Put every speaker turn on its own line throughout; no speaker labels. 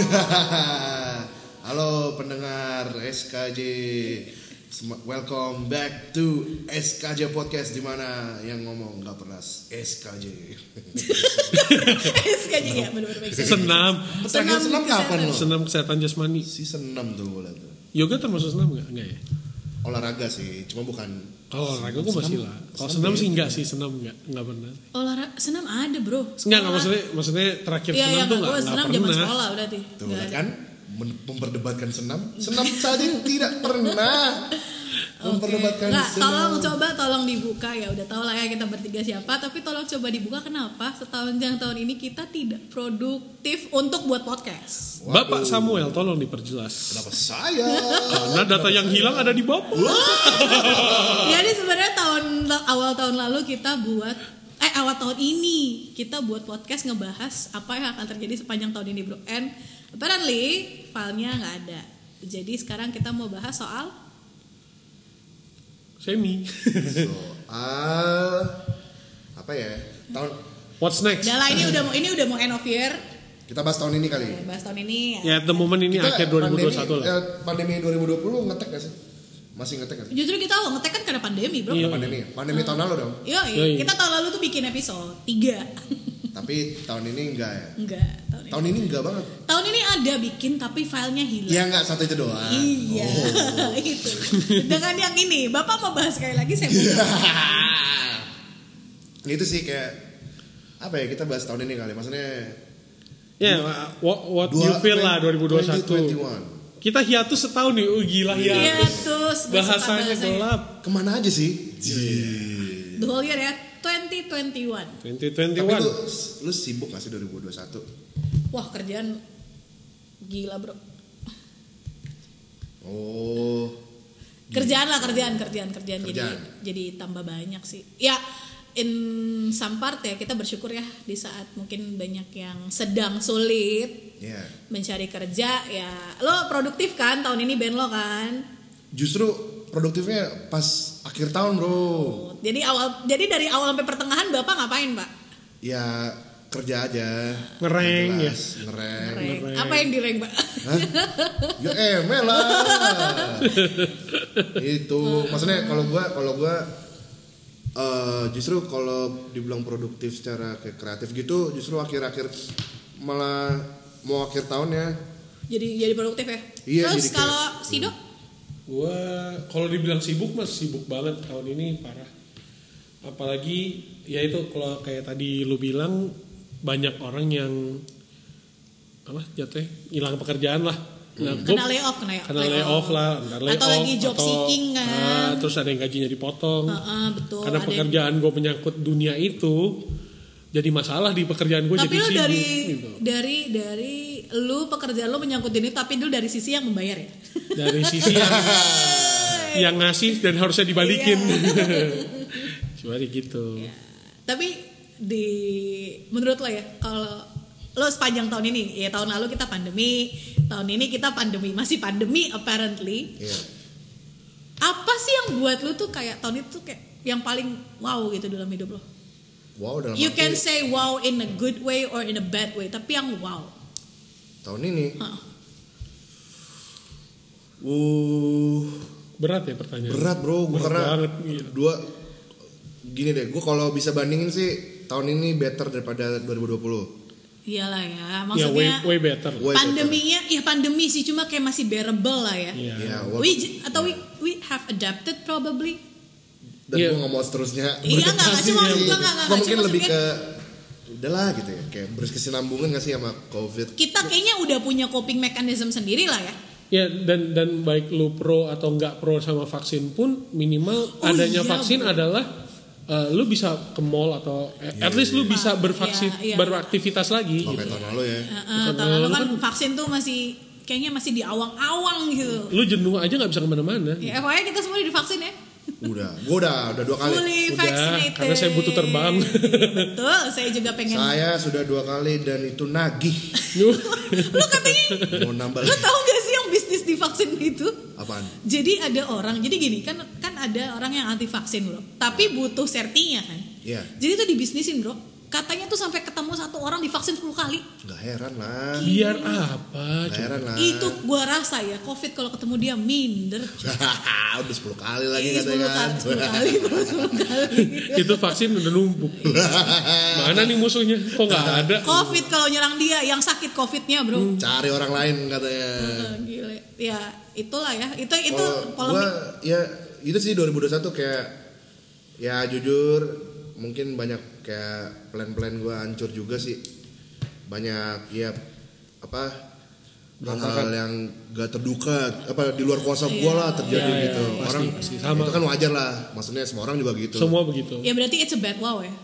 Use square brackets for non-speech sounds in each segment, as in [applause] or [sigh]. [laughs] Halo pendengar SKJ. Sem- Welcome back to SKJ Podcast di mana yang ngomong nggak pernah SKJ.
[laughs] SKJ ya benar-benar baik.
senam
Terakhir senam kapan lo?
senam kesehatan jasmani
Season 6 tuh gue liat tuh.
yoga termasuk senam nggak nggak ya
Olahraga sih, cuma bukan
kalau olahraga gue masih lah kalau senam sih enggak sih senam enggak enggak pernah
Olahraga senam ada bro.
enggak enggak maksudnya maksudnya terakhir
Iya
senam
iya
tuh
nggak,
enggak
gue
enggak
senam zaman
pernah
sekolah berarti.
Tuh
Nggak ada.
kan men- memperdebatkan senam. Senam saja yang tidak pernah memperdebatkan
Nggak,
senam.
tolong coba tolong dibuka ya udah tau lah ya kita bertiga siapa tapi tolong coba dibuka kenapa setahun yang tahun ini kita tidak produktif untuk buat podcast
Waduh,
Bapak Samuel tolong diperjelas
Kenapa saya?
karena data yang hilang ada di Bapak Oh.
jadi sebenarnya tahun awal tahun lalu kita buat eh awal tahun ini kita buat podcast ngebahas apa yang akan terjadi sepanjang tahun ini bro and apparently filenya nggak ada jadi sekarang kita mau bahas soal
semi
Soal ah, apa ya? Tahun
what's next
udah lah ini udah mau ini udah mau end of year
kita bahas tahun ini kali.
Ya, bahas tahun ini
ya at the moment ini
Kita
akhir 2021
pandemi,
lah
eh, pandemi 2020 ngetek gak sih? Masih ngetek gak sih?
justru kita awal ngetek kan karena pandemi bro
Iya.
Pandemi, ya? pandemi tahun lalu dong.
Yoi,
Yoi.
kita tahun lalu tuh bikin episode 3
Tapi tahun ini enggak ya.
[laughs] Enggak, tahun ini
Tahun ini enggak banget.
Iya.
Tahun ini ada bikin tapi filenya hilang
Ya enggak satu itu doang. Oh.
Iya,
Oh.
[laughs] gitu Dengan yang ini, Bapak mau bahas sekali lagi saya mau
Iya.
Ya, [laughs] itu sih kayak apa ya kita bahas tahun ini kali. Maksudnya
ya what, what you feel lah 2021
2021.
kita hiatus setahun nih uh, gila
Iya,
hiatus
terus
bahasanya gelap
Kemana aja sih?
Iya.
The whole year ya, 2021
Tapi lu,
2021
lu sibuk gak sih 2021?
Wah kerjaan gila bro
Oh,
kerjaan lah kerjaan kerjaan kerjaan,
Kerjaan.
jadi jadi tambah banyak sih ya in some part ya kita bersyukur ya di saat mungkin banyak yang sedang sulit
ya.
mencari kerja ya lo produktif kan tahun ini band lo kan
Justru produktifnya pas akhir tahun, Bro.
jadi awal jadi dari awal sampai pertengahan bapak ngapain pak
Ya kerja aja.
Ngereng, ya.
Yang jelas, Ngereng.
Rank. apa yang di rank pak [laughs]
Ya emel lah. Itu maksudnya kalau gua kalau gua eh, justru kalau dibilang produktif secara kayak kreatif gitu justru akhir-akhir malah mau akhir tahun ya
jadi jadi produktif ya
Iya, jadi
terus
kayak- Hmm.
kalau sidok
gua kalau dibilang sibuk mas sibuk banget tahun ini parah apalagi ya itu kalau kayak tadi lu bilang banyak orang yang apa jatuh hilang pekerjaan lah nah, gua-
Hmm. kena layoff kena ya-
karena layoff lah ntar layoff,
atau lagi job
atau-
seeking kan
Ah, terus ada yang gajinya dipotong
Heeh, betul ada
karena
yang-
pekerjaan gue menyangkut dunia itu jadi masalah di pekerjaan gue
tapi
jadi
lu
sibuk
dari
gitu.
dari dari lu pekerjaan lu menyangkut ini tapi lu dari sisi yang membayar ya
dari sisi yang, yang ngasih dan harusnya dibalikin
Iya.
[laughs] cuma gitu
tapi di menurut lo ya kalau lo sepanjang tahun ini ya tahun lalu kita pandemi tahun ini kita pandemi masih pandemi apparently
Iya.
apa sih yang buat lu tuh kayak tahun itu tuh kayak yang paling wow gitu dalam hidup lo
Wow dalam
you
arti
can say wow in a good way or in a bad way tapi yang wow
tahun ini.
Hmm.
Heeh.
Uh,
berat ya pertanyaan
berat bro gua
Berat
karena
banget, iya.
dua gini deh gue kalau bisa bandingin sih tahun ini better daripada 2020
iyalah ya
ya way,
maksudnya
way better lah.
Way better.
pandeminya ya pandemi sih cuma kayak masih bearable lah ya
Iya.
ya walaupun-
we j- atau we we have adapted probably
dan
Iya.
gue nggak mau seterusnya gitu.
iya nggak nggak cuma
Iya,
maksud gue
betul.
nggak nggak
Gua
nggak,
mungkin
cuma
lebih
maksudnya
ke udahlah gitu ya kayak berkesinambungan nggak sih sama covid
kita kayaknya udah punya coping mechanism sendiri lah ya
ya dan dan baik lu pro atau nggak pro sama vaksin pun minimal
Oh,
adanya
iya,
vaksin
bro.
adalah eh, lu bisa ke mall atau eh, at least lu bisa bervaksin
Iya, iya.
beraktivitas lagi
Iya, Oke
gitu.
tahun lalu ya
Eh, eh,
Bukan,
tahun lalu
lu
kan
kan-
vaksin tuh masih kayaknya masih di awang-awang gitu
lu jenuh aja nggak bisa kemana-mana
ya FYI kita semua udah divaksin ya
udah gue udah udah dua kali
fully
udah
vaccinated
karena saya butuh terbang
betul saya juga pengen
saya sudah dua kali dan itu nagih
Yuh.
lu katanya
mau nambah
lu
lagi
tau gak sih yang bisnis divaksin itu
apaan
Jadi ada orang, jadi gini kan kan ada orang yang anti vaksin bro, tapi butuh sertinya kan.
Iya.
Jadi itu dibisnisin bro. Katanya tuh sampai ketemu satu orang divaksin 10 kali.
nggak heran lah
biar
nggak
apa coba
heran lah
Itu gua rasa ya COVID kalau ketemu dia minder.
[laughs] udah 10 kali lagi
Ih, 10
katanya
Iya, kali,
kan
10 kali, terus 10
[laughs]
kali.
itu vaksin udah numpuk
Iya.
mana nih musuhnya kok nggak ada
Covid kalau nyerang dia yang sakit Covidnya bro.
cari orang lain katanya
Eh, Gile. Ya itulah ya. Itu itu
kalau gua
polemik.
ya itu sih 2021 kayak ya jujur mungkin banyak kayak plan-plan gua hancur juga sih banyak ya apa hal-hal yang gak terduga apa di luar kuasa gua lah terjadi
Iya, iya,
gitu
pasti,
orang
pasti. Sama.
itu kan wajar lah maksudnya semua orang juga gitu
semua begitu
Ya berarti it's a bad wow ya.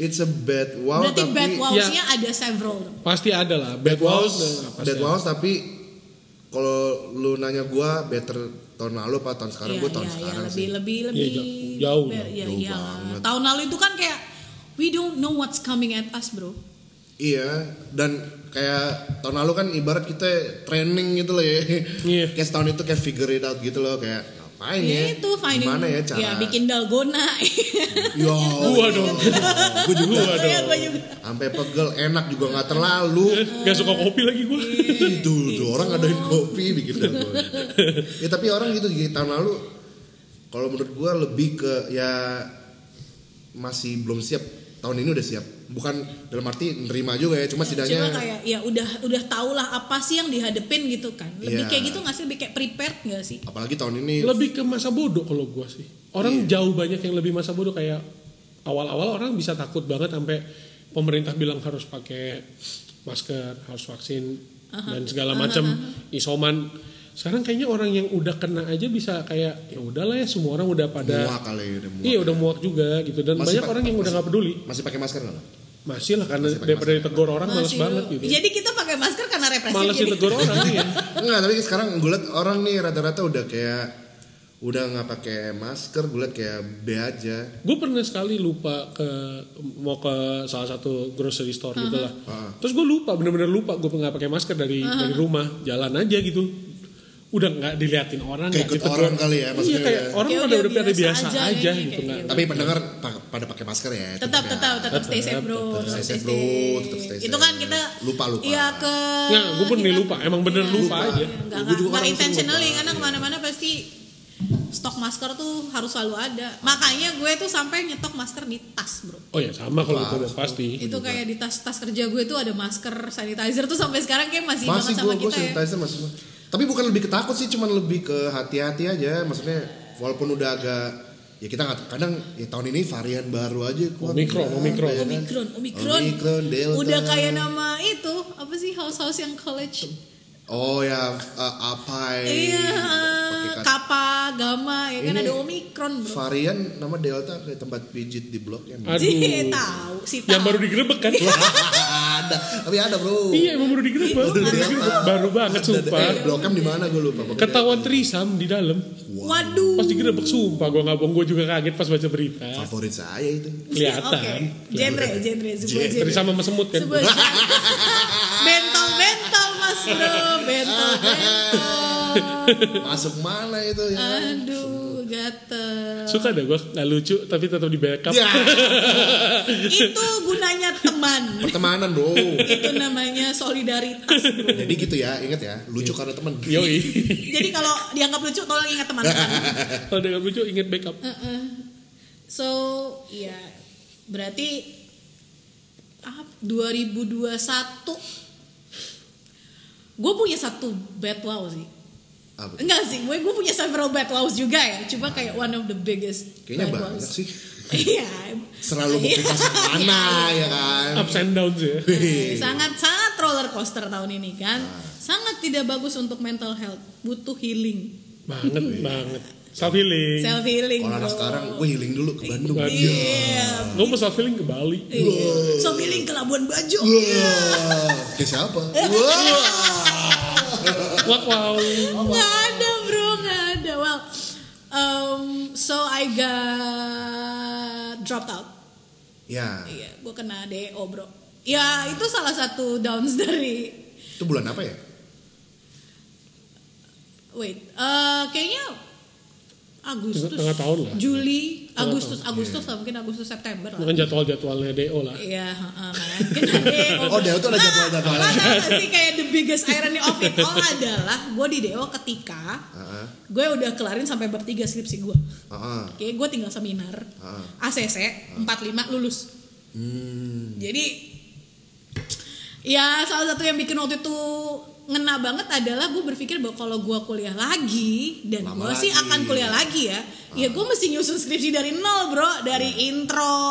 it's a bad wow
Berarti
Oh, tapi
bad wows-nya
ya.
ada several.
pasti ada lah nah,
bad wows
pasti
bad
ada.
wows tapi kalau lu nanya gua better tahun lalu apa tahun sekarang
Iya,
gua tahun
iya, iya,
sekarang sih
lebih lebih
Iya,
lebih
jauh- jauh
ber-
lah,
iya,
jauh
iya.
banget.
Tahun lalu itu kan kayak we don't know what's coming at us, bro.
Iya, dan kayak tahun lalu kan ibarat kita training gitu loh ya.
Iya.
Kayak setahun itu kayak figure it out gitu loh kayak ngapain ya?
Ya, itu finding.
Gimana ya cara?
Ya bikin dalgona. [laughs]
Ya,
gua dong gua juga gua
Iya,
dong
gua juga.
Sampai pegel enak juga nggak terlalu.
Gak suka kopi lagi gua
Itu
Gitu.
tuh orang ngadain kopi bikin dalgona. ya tapi orang gitu di tahun lalu kalau menurut gua lebih ke ya masih belum siap. Tahun ini udah siap. Bukan dalam arti nerima juga ya, cuma
Cuma
setidaknya
kayak ya udah udah tau lah apa sih yang dihadepin gitu kan.
Iya.
Lebih kayak gitu nggak sih? Lebih kayak prepared nggak sih?
apalagi tahun ini
lebih ke masa bodoh kalau gua sih orang
Iya.
jauh banyak yang lebih masa bodoh kayak awal-awal orang bisa takut banget sampai pemerintah bilang harus pakai masker harus vaksin dan segala macam isoman sekarang kayaknya orang yang udah kena aja bisa kayak ya udahlah ya semua orang udah pada
muak kali udah muak. ya."
iya udah muak juga gitu dan
Masih
banyak
pa-
orang yang udah
masih-
nggak peduli
Masih pakai masker nggak?
masih lah karena
Masih pakai
daripada
masker.
ditegur orang males
Masih
banget
dulu.
gitu
Jadi kita pakai masker karena represif. gitu.
males
jadi.
ditegur orang ya
Enggak, tapi sekarang gue liat orang nih rata-rata udah kayak udah nggak pakai masker, gue liat kayak B aja.
gue pernah sekali lupa ke mau ke salah satu grocery store gitu lah
Ah.
terus gue lupa bener-bener lupa gue nggak pakai masker dari dari rumah jalan aja gitu udah nggak diliatin orang
Kayak
nggak
ikut
ditegur.
orang kali ya,
iya
maksudnya
kayak
ya.
orang
Kayak
udah
udah
udah pada biasa,
biasa
aja,
aja nih,
gitu
kayak
nggak
Tapi pendengar pa- pada pakai masker ya.
tetap
ya.
tetap tetap stay safe bro
Tetap stay safe, bro. Tetap stay safe.
itu kan kita
Lupa, lupa.
ya ke
Nggak, gua pun nih
kita-
lupa. Emang bener
Iya,
lupa aja.
nggak
Gua
nggak
juga
nggak
orang
intentionally
lupa.
karena kemana-mana pasti stok masker tuh harus selalu ada makanya gue tuh sampai nyetok masker di tas bro
oh ya sama kalau itu udah pasti
Iya. Gitu,
itu kayak di tas tas kerja gue tuh ada masker sanitizer tuh sampai sekarang kayak masih,
Masih
banget
gue
sama
gue
kita ya
sanitizer masih. gua. Tapi bukan lebih ketakut sih, cuman lebih ke hati-hati aja. Maksudnya walaupun udah agak ya kita nggak kadang ya tahun ini varian baru aja keluar.
Omikron,
Ya,
Omikron.
ya kan?
Omikron, Omikron,
Omikron, Delta.
udah kayak nama itu apa sih house-house yang college?
Oh ya, eh, apa?
Iya,
Pakai kata-
kappa, gamma, ya kan
Ini
ada omikron bro.
varian nama Delta kayak tempat pijit di blok M.
aduh
Sih, tahu, sih tahu.
yang baru digerebek kan
ada, tapi ada bro.
iya emang baru digerebek
Baru
Baru
digerebek.
digerebek. baru banget
Ada- Eh,
sumpah
blok M di mana gue lupa. pokoknya.
ketahuan trisam di dalam
Waduh.
pas digerebek sumpah gue nggak bohong gue juga kaget pas baca berita
Favorit saya itu.
kelihatan
Oke. Genre, genre, sebuah genre.
Trisam sama semut kan
Sebuah genre. Bentol-bentol mas bro, bentol-bentol.
Masuk mana itu ya?
Ah. Aduh, gatel.
Suka deh gue nggak lucu tapi tetap di backup.
Ya,
Itu gunanya teman.
pertemanan bro.
Itu namanya solidaritas bro.
Jadi gitu ya, ingat ya, lucu karena teman.
Yoi. [laughs]
Jadi kalau dianggap lucu tolong ingat teman-teman.
Kalau ada nggak lucu inget backup.
Heeh. So, ya berarti ah, 2021 gue punya satu bad wow sih.
Apa?
Enggak sih, gue gue punya several bad wows juga ya. Cuma kayak one of the biggest.
Kayaknya
bad
banyak
wows.
sih.
[laughs] Iya.
Selalu mau
Iya.
ke mana ya kan?
Ups and downs ya.
Iya.
Eh, sangat sangat roller coaster tahun ini kan. Sangat tidak bagus untuk mental health. Butuh healing,
Banget banget. Self healing.
self healing.
Kalau anak
bro.
sekarang, gue healing dulu ke Bandung.
Bandung.
Iya.
Gue mau self healing ke Bali.
Iya. Self healing ke Labuan Bajo.
Wah, ke siapa? Iya.
Iya.
Wah.
Wak wow.
Oh, Nggak ada bro, nggak ada. Well, um, so I got dropped out.
Ya,
Iya, gue kena DO bro. Ya itu salah satu downs dari.
itu bulan apa ya?
Wait, eh, kayaknya Agustus
Tengah- tengah tahun lah.
Juli
Tengah
Agustus Agustus lah mungkin Agustus September lah
Bukan jadwal-jadwalnya DO lah.
Iya, heeh, kan gede.
Oh, Deo tuh ada
Nah,
jadwal-jadwalnya.
nah, tau gak sih kayak the biggest irony of it all adalah gue di Deo ketika
Heeh.
gue udah kelarin sampai bertiga skripsi gue.
Heeh.
Oke, gue tinggal seminar.
Heeh.
ACC 45 lulus.
Hmm.
Jadi ya salah satu yang bikin waktu itu ngena banget adalah gue berpikir bahwa kalau gue kuliah lagi dan
Lama
gue sih
lagi.
akan kuliah lagi ya, ya gue mesti nyusun skripsi dari nol bro, dari
Iya.
intro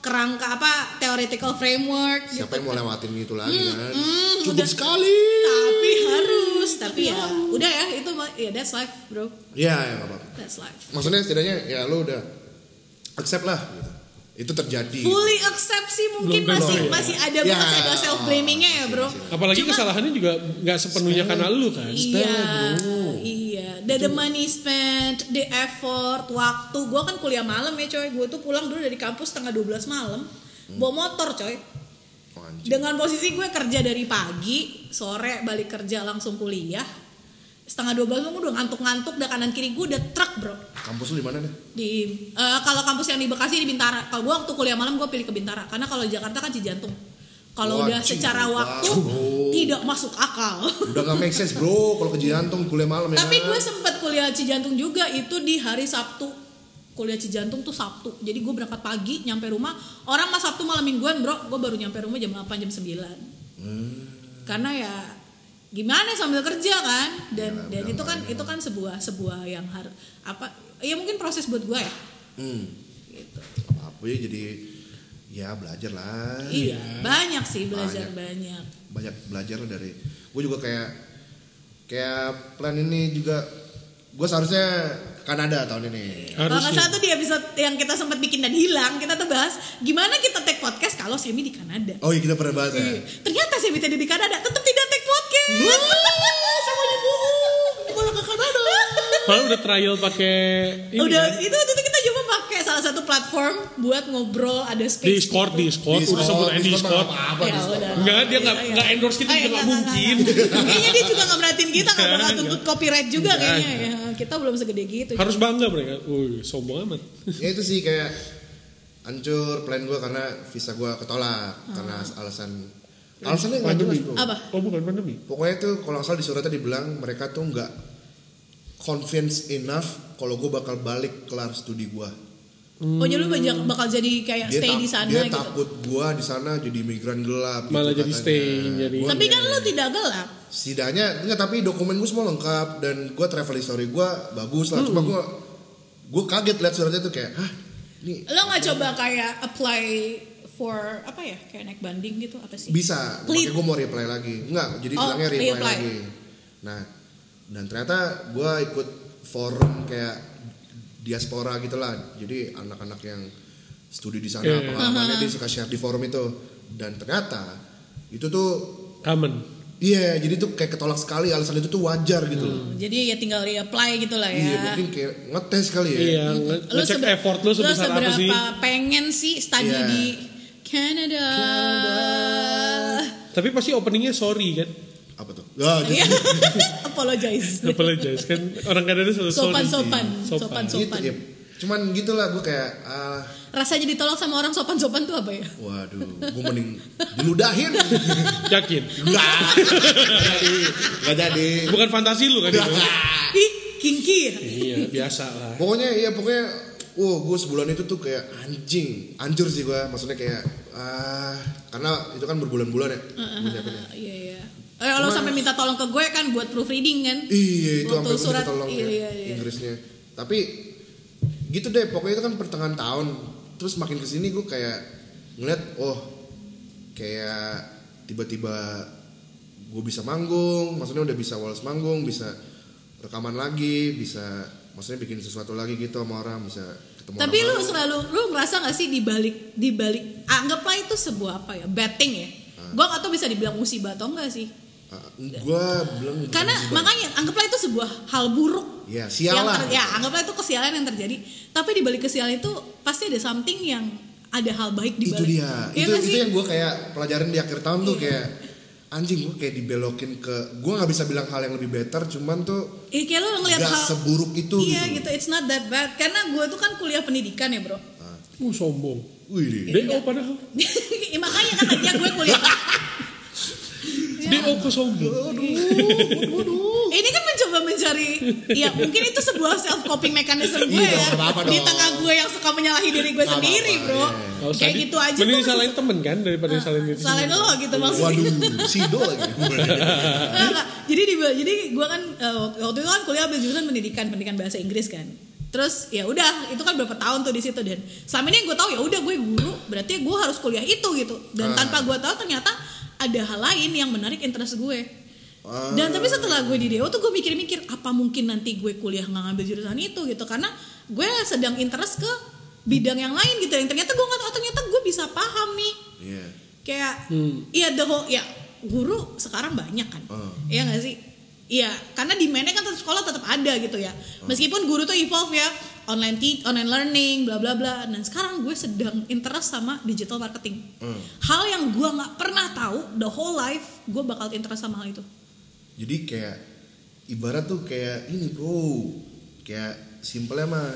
kerangka apa theoretical framework
Siapa
gitu.
yang mau lewatin gitu lagi kan?
mm,
Cukup
udah.
sekali.
Tapi harus, tapi ya udah ya itu mah- ya that's life bro,
Iya, ya nggak apa-apa.
that's life.
Maksudnya setidaknya ya lu udah accept lah gitu. Itu terjadi.
Fully accept sih mungkin
Belum- belum,
masih
ya.
masih ada
Iya. Ya.
masih ada self blamingnya ya bro.
Masih-
Apalagi
Cuma-
kesalahannya juga nggak sepenuhnya karena lu kan.
Iya, iya. The, the money spent, the effort, waktu. Gue kan kuliah malam ya coy. Gue tuh pulang dulu dari kampus setengah 12 malam.
Hmm.
Bawa motor coy.
Oh, anjing.
Dengan posisi gue kerja dari pagi, sore balik kerja langsung kuliah. Setengah 12 malam gua udah ngantuk-ngantuk, udah kanan kiri gue udah truk bro.
Kampus lu di mana nih?
Di eh, kalau kampus yang di Bekasi di Bintara. Kalau gue waktu kuliah malam gue pilih ke Bintara karena kalau di Jakarta kan Cijantung. Kalau udah
Wajib,
secara
wah,
waktu
bro.
tidak masuk akal. [laughs]
Udah gak make sense bro kalau ke Jantung kuliah malam ya.
Tapi
kan?
gue sempet kuliah Cijantung juga itu di hari Sabtu. Kuliah Cijantung tuh Sabtu. Jadi gue berangkat pagi, nyampe rumah. Orang mah Sabtu malam mingguan bro. Gue baru nyampe rumah jam 8, jam 9. Karena ya gimana sambil kerja kan dan dan itu kan itu kan sebuah sebuah yang harus apa ya mungkin proses buat gue ya
Hmm.
gitu
Apa ya jadi ya belajar lah.
iya banyak sih belajar banyak,
banyak belajar lah dari gue juga kayak kayak plan ini juga gue seharusnya ke Kanada tahun ini
Kalau nggak
Harusnya.
salah tuh di episode yang kita sempat bikin dan hilang kita tuh bahas gimana kita take podcast kalau semi di Kanada
oh iya kita pernah bahas ya
Iya. Ternyata saya minta di Kanada tetap tidak take podcast. Semuanya bohong. Malah ke Kanada.
Malah udah trial pakai ini
Udah
kan?
itu waktu itu kita coba pakai salah satu platform buat ngobrol ada space.
Discord,
gitu.
Discord, udah sebut
Discord,
Andy
Discord
Discord.
mah apa-apa,
Ya
Discord.
udah.
Enggak, dia nggak
Iya, iya.
nggak endorse
Eh,
kita juga nggak
enggak,
mungkin.
enggak, enggak. Kayaknya dia juga nggak merhatiin kita nggak bakal
Enggak,
tuntut copyright juga
Enggak,
kayaknya. Ya, kita belum segede gitu.
Harus bangga mereka. Wih, sombong amat.
ya itu sih kayak hancur plan gue karena visa gue ketolak karena alasan alasannya nggak jelas
Pandemi.
bro
Ah. Apa?
Oh, bukan pandemi.
pokoknya tuh kalau nggak salah di suratnya dibilang mereka tuh nggak convinced enough kalau gue bakal balik kelar studi gue
Oh jadi lu banyak bakal jadi kayak
dia,
stay
tak-
di sana
dia
gitu.
takut gue di sana jadi imigran gelap gitu
Malah jadi
katanya.
stay, jadi-
Gua
Tapi kan lu
iya.
tidak gelap.
setidaknya enggak tapi dokumen gue semua lengkap dan gue travel history gue bagus
Hmm.
lah cuma gue gue kaget lihat suratnya tuh kayak hah ini
Lo nggak coba kayak apply for apa ya kayak naik banding gitu apa sih?
bisa makanya
Plead.
gue mau replay lagi enggak jadi
Oh,
bilangnya replay,
reapply.
lagi nah dan ternyata gue ikut forum kayak diaspora gitulah jadi anak-anak yang studi di sana
Iya.
pengalamannya dia suka share di forum itu dan ternyata itu tuh
Common.
iya jadi tuh kayak ketolak sekali alasan itu tuh wajar gitu loh
Jadi ya tinggal reapply gitu lah ya.
iya mungkin kayak ngetes kali ya
Iya, nge-
Lu
ngecek
sebe-
effort lu sebesar apa
seberapa
sih?
pengen sih studi
Iya.
di Canada.
Tapi pasti openingnya sorry kan.
apa tuh Ah, gitu.
Iya. [laughs] Apologize.
Apologize kan orang Kanada selalu sorry.
Sopan-sopan,
Sopan.
gitu
sopan-sopan.
ya. Cuman gitulah gue kayak ah,
Rasanya ditolak sama orang sopan-sopan tuh apa ya?
waduh, gue mending diludahin.
Yakin?
Enggak. Enggak jadi. Nggak
Bukan fantasi lu kan itu?
jadi.
Ih, kinky ya.
[laughs] Iya, biasa lah.
pokoknya iya pokoknya Wow, gue sebulan itu tuh kayak anjing, anjur sih gue. Maksudnya kayak ah karena itu kan berbulan-bulan ya. gua nyiapinnya.
Iya, iya. Eh, lo sampai minta tolong ke gue kan buat proofreading kan?
Iya itu
Waktu
sampai gue
surat,
minta tolong
iya,
ya,
iya, iya.
Inggrisnya. Tapi gitu deh pokoknya itu kan pertengahan tahun. Terus makin kesini gue kayak ngeliat oh kayak tiba-tiba gue bisa manggung, maksudnya udah bisa Wales manggung, bisa rekaman lagi, bisa maksudnya bikin sesuatu lagi gitu sama orang, bisa ketemu
Tapi
orang
lu
baru.
selalu lu ngerasa gak sih di balik di balik anggaplah itu sebuah apa ya? Betting ya.
Ah.
Gue gak tau bisa dibilang musibah atau enggak sih.
Iya,
Ah, gue belum
Karena makanya anggaplah itu sebuah hal buruk.
ya
Yang
sialan.
ter- ya anggaplah itu kesialan yang terjadi. Tapi di balik kesialan itu pasti ada something yang ada hal baik di balik.
itu dia
Iya
itu
nggak
itu
sih? Iya.
yang gue kayak pelajarin di akhir tahun tuh kayak anjing gue kayak dibelokin ke gue nggak bisa bilang hal yang lebih better cuman tuh
Ih, Iya, kayak lo ngeliat
Nggak
hal
seburuk itu
Iya
gitu.
gitu, it's not that bad. Karena gue tuh kan kuliah pendidikan ya bro. [laughs]
Uh sombong.
gitu.
wih deh.
Iya.
DO padahal.
Ih, Makanya kan tadinya gue kuliah. Iya.
DO kok sombong.
Ini kan mencoba mencari, ya mungkin itu sebuah self coping mechanism gue
Iya,
ya.
nggak apa-apa
Di
dong.
tengah gue yang suka menyalahi diri gue
Nggak
sendiri
apa-apa,
bro.
iya,
Nggak usah
Kayak
di-
gitu aja.
Mending
gue
disalahin temen kan daripada disalahin diri
Salahin
sendiri.
lo gitu maksudnya.
waduh sido
[laughs]
lagi
Nggak, nggak. jadi di jadi gue kan eh, waktu- waktu itu kan kuliah ambil jurusan pendidikan pendidikan bahasa Inggris kan terus ya udah itu kan berapa tahun tuh di situ dan selama ini yang gue tahu ya udah gue guru berarti gue harus kuliah itu gitu dan
Ah.
tanpa gue tahu ternyata ada hal lain yang menarik interest gue
Ah.
dan tapi setelah gue di Dewa tuh gue mikir-mikir apa mungkin nanti gue kuliah nggak ngambil jurusan itu gitu karena gue sedang interest ke bidang yang lain gitu yang ternyata gue nggak tahu ternyata gue bisa paham nih
Iya.
kayak iya the whole ya guru sekarang banyak kan
Hmm.
iya nggak sih iya karena demandnya kan tetap sekolah tetap ada gitu ya
Hmm.
meskipun guru tuh evolve ya online te- online learning bla bla bla dan sekarang gue sedang interest sama digital marketing
Hmm.
hal yang gue nggak pernah tahu the whole life gue bakal interest sama hal itu
jadi kayak ibarat tuh kayak ini bro kayak simpelnya mah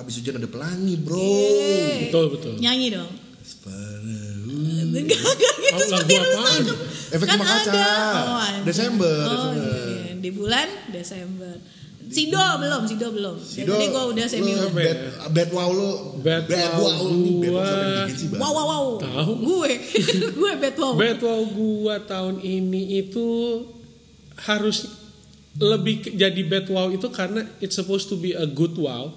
abis hujan ada pelangi bro
Yeay.
Betul betul.
Hmm.
nyanyi dong
Separuh.
Enggak,
Oh,
enggak gitu
Lagu
seperti
apaan?
rusak.
Efek rumah kaca.
anjing.
Desember,
Oh,
Desember.
iya, iya. Di bulan Desember. Sido belum, Sido belum. Dari
Sido,
Tadi gua udah semi
lu
apa ya?
bad, bad wow lu
Bad wow
ini bad wow
gua.
siapa yang bikin sih bang
wow wow wow.
Tahu.
Gue [laughs] gue bet wow.
Battle gua tahun ini itu harus lebih ke- jadi bad wow itu karena it's supposed to be a good wow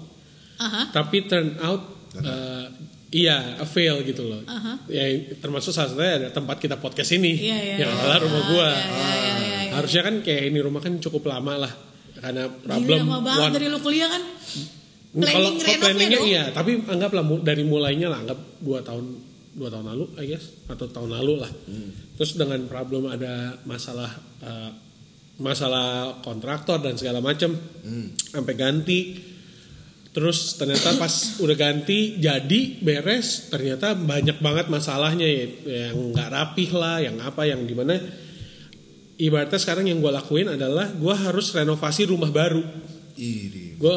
Aha.
tapi turn out uh, iya a fail gitu loh
Aha.
ya termasuk salah satunya ada tempat kita podcast ini
Uh-huh. Iya, iya,
yang
iya.
adalah rumah gua
Iya, iya, iya, iya, iya.
harusnya kan kayak ini rumah kan cukup lama lah karena
Gila
problem
lama banget
one-
dari lu kuliah kan.
kalau
Planning
kalau
renovnya
planningnya
dong.
iya tapi anggaplah mu- dari mulainya lah anggap dua tahun dua tahun lalu I guess atau tahun lalu lah terus dengan problem ada masalah eh, masalah kontraktor dan segala macam sampai ganti terus ternyata pas udah ganti jadi beres ternyata banyak banget masalahnya ya yang nggak rapih lah yang apa yang dimana ibaratnya sekarang yang gue lakuin adalah gue harus renovasi rumah baru
ini
gue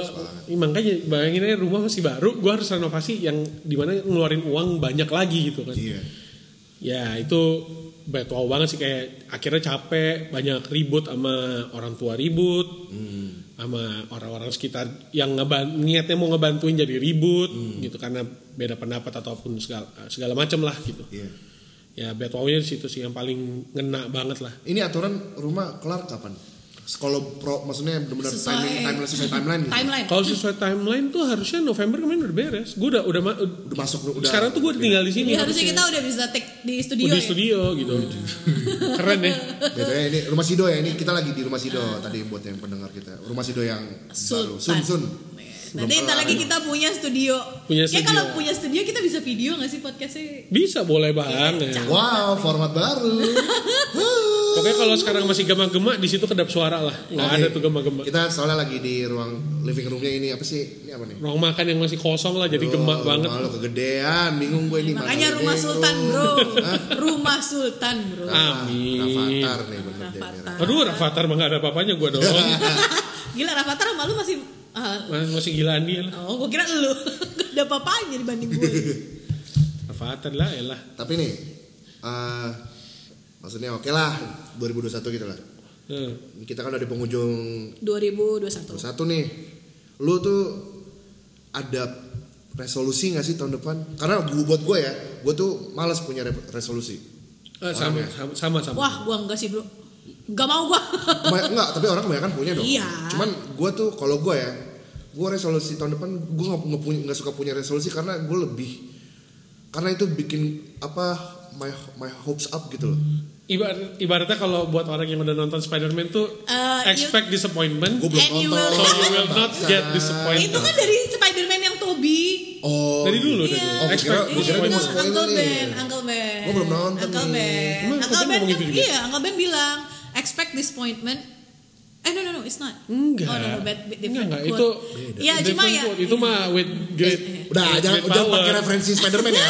makanya bayangin aja rumah masih baru gue harus renovasi yang dimana ngeluarin uang banyak lagi gitu kan
iya
ya itu bad wow banget sih kayak akhirnya capek banyak ribut sama orang tua ribut
Hmm.
sama orang-orang sekitar yang ngeban niatnya mau ngebantuin jadi ribut
Hmm.
gitu karena beda pendapat ataupun segala segala macam lah gitu
iya
ya bad wow-nya di situ sih yang paling ngena banget lah
ini aturan rumah kelar kapan kalau pro maksudnya benar-benar
Sesuai-
timing timeline sesuai timeline gitu.
Timeline.
Hmm. kalau sesuai timeline tuh harusnya November kemarin udah beres gue udah udah, ma-
udah masuk udah
sekarang tuh gue tinggal di
Jadi
sini
Iya, harusnya kita udah bisa take di studio.
Oh, di
ya?
studio gitu. Keren ya.
Btw, ini rumah Sido ya ini kita lagi di rumah Sido tadi buat yang pendengar kita rumah Sido yang baru
Sultan.
Sun Sun
Nanti ntar lagi kita punya studio.
Punya
Kayak
studio.
kalau punya studio kita bisa video nggak sih podcastnya?
Bisa boleh banget.
wow format baru Huh.
Pokoknya kalau sekarang masih gema-gema di situ kedap suara lah. Nggak
Oke.
ada tuh gema-gema.
kita soalnya lagi di ruang living roomnya ini apa sih ini apa nih
Ruang makan yang masih kosong lah jadi
Oh,
gemak banget.
malu kegedean bingung gue ini mana
Makanya
gede
rumah
lu.
sultan bro,
Hah?
rumah sultan bro.
Ah,
Amin.
Rafathar nih bener deh,
Rafathar.
merah.
Aduh, Rafathar mah nggak ada apa-apanya gue doang.
[laughs] Gila Rafathar sama lu masih ah,
Mas- masih gilaan dia lah.
Oh, gue kira lu [laughs] Gak ada apa-apanya dibanding
[laughs]
gue
Rafathar lah, elah.
tapi nih eh, maksudnya oke lah 2021 gitu lah
Hmm.
kita kan udah di penghujung
2021
satu nih lu tuh ada resolusi nggak sih tahun depan karena gua- buat gue ya gue tuh males punya re- resolusi
Eh, sama,
Orangnya.
sama, sama, sama.
Wah, gue enggak sih bro Gak mau gue
Kebany- enggak tapi orang kebanyakan punya dong
Iya.
cuman gue tuh kalau gue ya gue resolusi tahun depan gue nggak nggak punya- nggak suka punya resolusi karena gue lebih karena itu bikin apa my my hopes up gitu loh
Ibar- ibaratnya kalau buat orang yang udah nonton Spider-Man tuh
Eh, you-
expect disappointment.
gue belum
And you
nonton Nah,
will-
So you will not get disappointed.
Itu kan dari Spider-Man yang Toby
oh
Dari dulu, dari
Oh,
Iya.
dulu.
gua kira- gua kira dia
Iya,
mau spoiler
Uncle
nih.
Ben, Uncle Ben
Gua belum nonton
Uncle
nih.
Ben
Emang
Uncle
Toby
Ben
ngomong
kan,
gitu juga?
iya, Uncle Ben bilang Expect disappointment Eh no no no, it's not.
Enggak.
Oh no, no bad, bad- different
Enggak, enggak,
quote.
itu
Iya, cuma
different
ya. Eh,
quote. Itu mah with great.
Udah,
with
jangan,
great
jangan
power.
pakai referensi Spider-Man
[laughs]
ya.
Iya.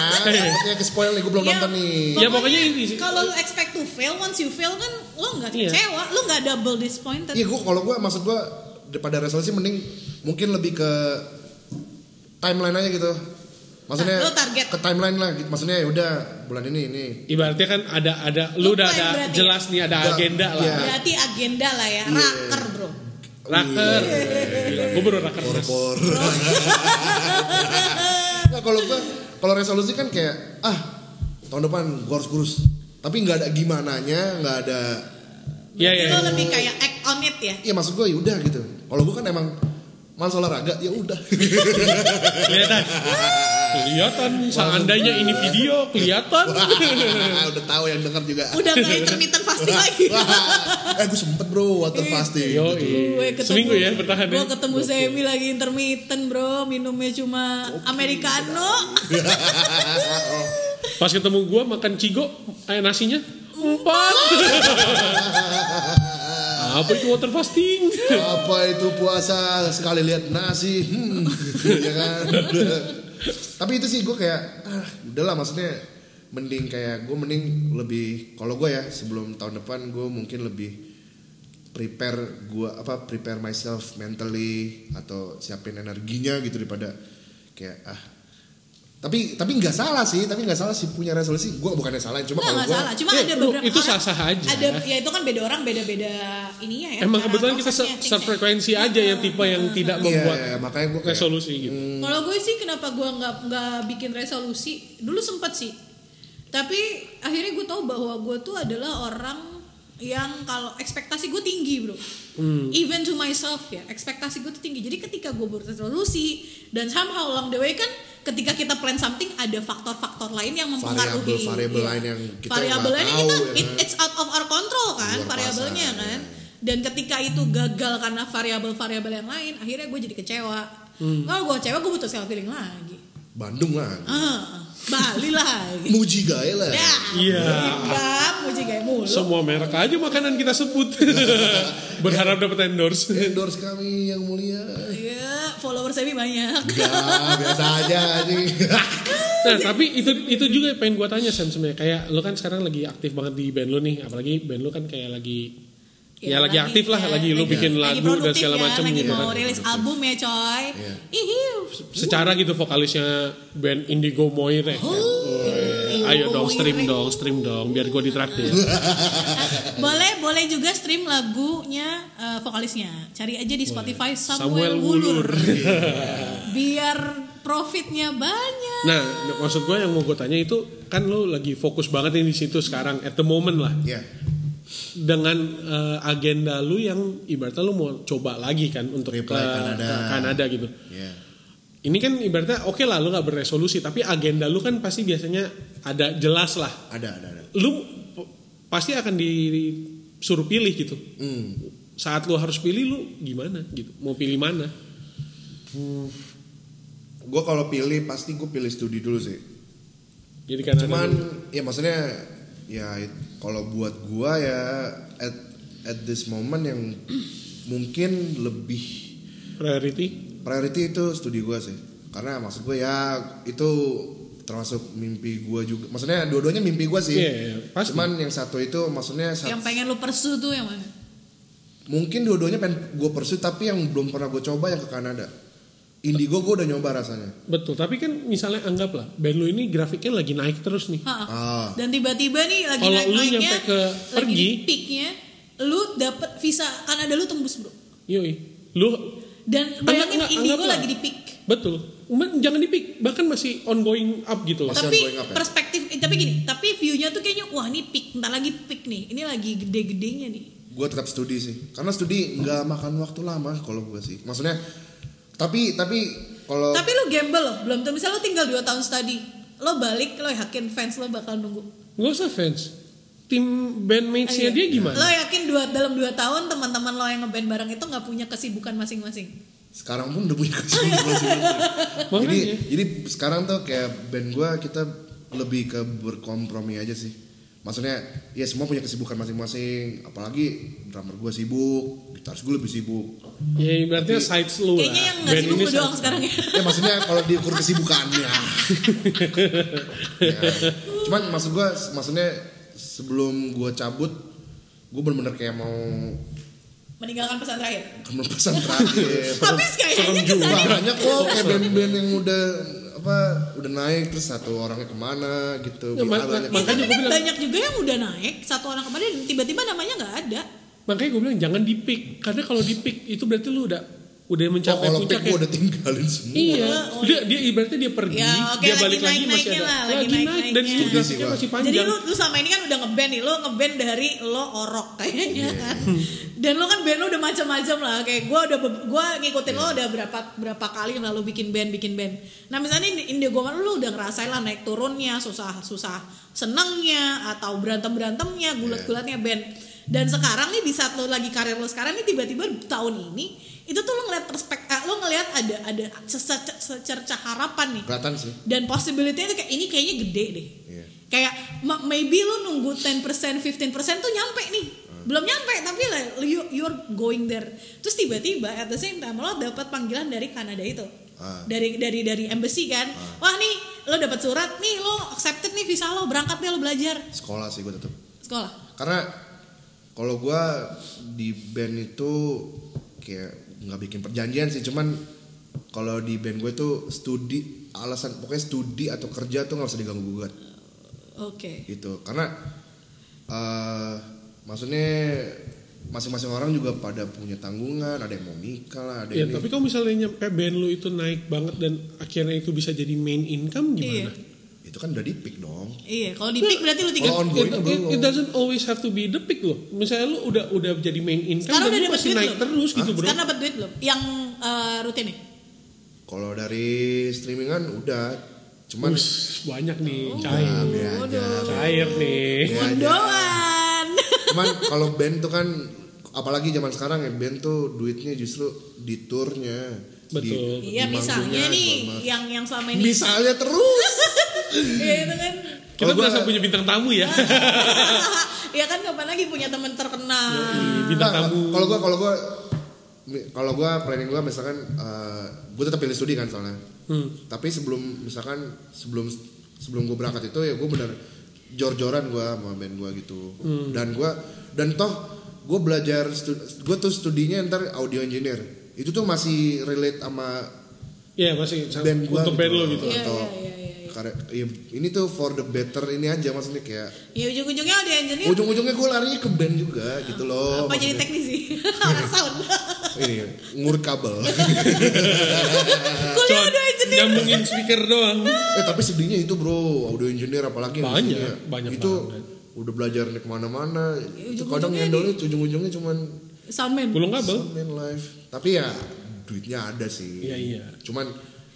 Takutnya ke spoil nih, gue belum
Iya,
nonton nih.
Ya, pokoknya ini-
kalau lu expect to fail, once you fail kan lo nggak
Iya.
kecewa, lo nggak double disappointed.
Iya, gue kalau gue maksud gue daripada resolusi mending mungkin lebih ke timeline aja gitu. Maksudnya
Nah, lu target.
ke timeline lah. gitu. Maksudnya ya udah bulan ini ini.
Ibaratnya kan ada ada lu udah
Plan
ada
berarti.
jelas nih ada
Enggak,
agenda lah.
iya.
Berarti agenda lah ya, raker bro.
Iya,
Raker. Gila, Gue baru raker. Mas.
Por.
Oh, iya.
[laughs] Nggak, kalau gue kalau resolusi kan kayak ah tahun depan gue harus kurus. Tapi nggak ada gimana nya, nggak ada.
Iya iya.
Lo lebih kayak act on it ya.
Iya maksud gue ya udah gitu. Kalau gue kan emang malas olahraga ya udah. [laughs]
Kelihatan. Kelihatan seandainya ini video kelihatan.
[laughs] udah tahu yang denger juga.
Udah nggak intermittent fasting lagi.
Wah, eh gue sempet bro water fasting.
Yo,
Gue
iya.
ketemu-
seminggu ya bertahan ya.
Gue ketemu Semi lagi intermittent bro, minumnya cuma americano.
Pas ketemu gua makan cigo, eh nasinya empat. Apa itu water fasting?
Apa itu puasa sekali lihat nasi, hmm, ya kan. Tapi itu sih gue kayak, ah, udahlah maksudnya mending kayak gue mending lebih kalau gue ya sebelum tahun depan gue mungkin lebih prepare gue apa prepare myself mentally atau siapin energinya gitu daripada kayak ah tapi tapi nggak salah sih tapi nggak salah sih punya resolusi gue bukannya salahin cuma
Nggak
kalau
nggak
gue
salah, cuma
Eh,
ada
lu,
beberapa
itu
orang-
sah-sah aja.
Ada ya itu kan beda orang beda-beda ininya ya.
Emang
cara
kebetulan kita
prosesnya,
se-
things-nya. Iya.
sefrekuensi aja ya tipe yang tidak membuat
iya, makanya gue kayak
resolusi gitu.
Hmm.
Kalau gue sih kenapa gue nggak nggak bikin resolusi dulu sempet sih, tapi akhirnya gue tahu bahwa gue tuh adalah orang yang kalau ekspektasi gue tinggi bro,
Hmm.
even to myself ya ekspektasi gue tuh tinggi. Jadi ketika gue berresolusi dan somehow along the way kan ketika kita plan something ada faktor-faktor lain yang mempengaruhi
Variabel-variabel
Iya.
lain yang kita
Variabel
nggak
lainnya
tahu,
kita
ya
it-
kan?
it's out of our control kan
Luar
variabelnya
iya.
kuasa,
kan dan ketika itu gagal karena variabel-variabel yang lain akhirnya gue jadi kecewa
Hmm.
kalau gue kecewa gue butuh self healing lagi
Bandung lah
ah Bali
[laughs]
lagi
muji gaya lah
ya
Iya.
Bang, muji kayak mulu
Semua merek aja makanan kita sebut. Berharap dapat endorse.
endorse kami yang mulia
ya follower saya banyak
Enggak, biasa aja anjing
Nah, tapi itu itu juga yang pengen gue tanya Sam sebenarnya. Kayak lu kan sekarang lagi aktif banget di band lu nih, apalagi band lu kan kayak lagi ya, lagi, aktif lah,
ya,
lagi lu bikin lagu dan
produktif
segala
ya,
macam
lagi
gitu
mau
kan.
rilis album ya coy
Iya.
Ihiu.
Secara gitu vokalisnya band Indigo Moire. kan? Iya. Ayo dong stream dong, stream dong biar gue ditraktir.
[laughs] boleh boleh juga stream lagunya eh, vokalisnya cari aja di Spotify
Samuel
Samuel,
Wulur.
Wulur [laughs] biar profitnya banyak
Nah, maksud gue yang mau gue tanya itu kan lu lagi fokus banget nih di situ sekarang at the moment lah.
[laughs] ya
dengan eh, agenda lu yang ibaratnya lu mau coba lagi kan untuk ke,
Reply Kanada.
ke Kanada gitu.
ya
Ini kan ibaratnya oke lah lu nggak berresolusi tapi agenda lu kan pasti biasanya ada jelas lah.
ada ada ada
Lu p- pasti akan disuruh pilih gitu.
hmm.
Saat lu harus pilih lu gimana gitu. Mau pilih mana?
gue kalau pilih pasti gue pilih studi dulu sih
Jadi kan
cuman ya maksudnya ya it- kalau buat gua ya at at this moment yang mungkin lebih
priority.
priority itu studi gue sih karena maksud gue ya itu termasuk mimpi gue juga maksudnya dua-duanya mimpi gue sih
Iya, iya, pasti.
cuman yang satu itu maksudnya sat-
yang pengen lu persu tuh yang mana
mungkin dua-duanya pengen gue pursue tapi yang belum pernah gue coba yang ke Kanada Indigo gue udah nyoba rasanya
Betul, tapi kan misalnya anggaplah band lu ini grafiknya lagi naik terus nih.
Ha-ha.
Ah.
dan tiba-tiba nih lagi
Kalau lu
naik-naiknya
nyampe ke
lagi
pergi.
di peaknya lu dapet visa Kanada lu tembus bro
Yoi. Lu
dan
Anggap-
bayangin
anggap-
Indigo
anggaplah.
lagi di peak
Betul. Men- jangan di pick, bahkan masih ongoing up gitu loh.
Masih
tapi
ongoing apa ya?
perspektif eh, tapi gini tapi view-nya tuh kayaknya wah ini peak ntar lagi peak nih ini lagi gede-gedenya nih
gue tetap studi sih karena studi nggak makan waktu lama kalau gue sih maksudnya tapi tapi kalau
Tapi lu gamble loh, belum tuh misal lu tinggal 2 tahun study, lo balik lo yakin fans lo bakal nunggu.
Gak usah fans. Tim bandmates-nya
Ayo.
dia gimana?
Lo yakin dua dalam 2 tahun teman-teman lo yang ngeband bareng itu nggak punya kesibukan masing-masing.
sekarang pun udah punya kesibukan
Makanya.
jadi jadi sekarang tuh kayak band gue kita lebih ke berkompromi aja sih maksudnya ya semua punya kesibukan masing-masing apalagi drummer gue sibuk gitaris gue lebih sibuk
Ya ibaratnya sides lu lah.
Kayaknya yang nggak
Band
sibuk
ini
gue doang sekarang ya. [laughs]
ya maksudnya kalau diukur
[laughs]
kesibukannya ya. cuman maksud gue maksudnya sebelum gue cabut gue bener-bener kayak mau
Meninggalkan pesan terakhir.
pesan terakhir
Habis kayaknya
serem juga.
kesannya.
banyak kok kayak band-band yang udah apa udah naik terus satu orangnya kemana gitu
Ya,
Banyak-
mak-
banyak-
makanya
Tapi
gue
kan
bilang
banyak juga yang udah naik. Satu orang kemarin tiba-tiba namanya nggak ada.
makanya gue bilang jangan di pick karena kalau di pick itu berarti lu udah udah
Oh,
mencapai
kalau pick
puncaknya.
gue udah tinggalin semua
Iya,
Oh,
dia, dia ibaratnya dia pergi,
Ya, oke,
dia
lagi
balik lagi masih
naik-naiknya
ada
lah, lagi naik-naiknya.
dan itu
Setuju
sih
grafiknya
gua.
masih panjang.
Jadi lu lu sama ini kan udah ngeband nih, lu ngeband dari lo orok
Iya.
kayaknya kan. Dan lu kan band lu udah macam-macam lah. Kayak gua udah be- gua ngikutin
Iya.
lo udah berapa berapa kali lalu bikin band bikin band. Nah misalnya ini Indio Gomar lu udah ngerasain lah naik turunnya, susah susah senengnya atau berantem
Iya.
berantemnya, gulat gulatnya band. Dan sekarang nih di saat lo lagi karir lo sekarang nih tiba-tiba tahun ini itu tuh lo ngeliat perspek, eh, lo ngeliat ada ada sece- secercah harapan nih
kelihatan sih
dan possibility itu kayak ini kayaknya gede deh.
Iya.
Kayak ma- maybe lu nunggu 10%, 15% tuh nyampe nih.
Hmm.
Belum nyampe tapi lah you, you're going there. Terus tiba-tiba at the same time lo dapat panggilan dari Kanada itu.
Ah.
Dari dari dari embassy kan. Wah, nih lo dapat surat nih lo accepted nih visa lo berangkat deh lo belajar
sekolah sih gue tetap
sekolah.
karena kalau gue di band itu kayak nggak bikin perjanjian sih cuman kalau di band gue tuh studi alasan pokoknya studi atau kerja tuh nggak usah diganggu gugat
Oke.
gitu karena eh maksudnya masing-masing orang juga pada punya tanggungan ada yang mau nikah lah ada
Ya,
yang
tapi kalau misalnya nyampe band lu itu naik banget dan akhirnya itu bisa jadi main income
Iya.
gimana?
itu kan udah di pick dong
Iya, kalau di pick berarti lu tiga.
Kalau ongoing
It,
tuh
it,
belum.
it doesn't always have to be the peak loh. Misalnya lu udah udah jadi main income
Sekarang udah
dan
dapet
lu Kan masih
duit
naik
belum?
terus gitu bro.
Sekarang dapat duit belum? Yang eh, rutin nih.
kalau dari streamingan udah cuman
Wus, banyak nih,
Oh,
cair,
Nah, biar aja.
cair nih.
Biar aja.
Mondoan.
[laughs] cuman kalau band tuh kan apalagi zaman sekarang ya band tuh duitnya justru di turnya
Betul.
di,
Iya
di
misalnya
manggungnya,
nih
segala macam.
yang yang selama ini [laughs]
misalnya terus
ya itu kan [laughs]
Kita
Kalau gua-
berasa punya bintang tamu ya.
Ah. ya kan kapan lagi punya teman terkenal
[laughs] bintang
Nah,
tamu.
kalau gua kalau gua mi- kalau gua planning gua misalkan eh, gua tetap pilih studi kan soalnya
Hmm.
tapi sebelum misalkan sebelum sebelum gua berangkat itu ya gua bener jor-joran gua sama band gua gitu
Hmm.
dan gua dan toh gua belajar stu- gua tuh studinya ntar audio engineer itu tuh masih relate sama
Iya masih sama-
band gua
untuk band lu gitu.
Iya,
atau
iya, iya,
karya- iya, ini tuh for the better ini aja maksudnya kayak
ya ujung-ujungnya udah engineer
ujung-ujungnya gue larinya ke band juga gitu loh
apa jadi
maksudnya.
teknisi orang sound
ini ngurut
[laughs]
kabel
kuliah
Cuman
udah engineer
nyambungin speaker doang.
eh tapi sedihnya itu bro audio engineer apalagi yang
Banyak,
isinya.
banyak
itu
banget.
udah belajar nih kemana-mana itu
Iya, ujung-ujungnya
kadang
di-
ngendolnya ujung-ujungnya cuman
soundman
Gulung kabel.
main live tapi ya duitnya ada sih
Iya, iya.
cuman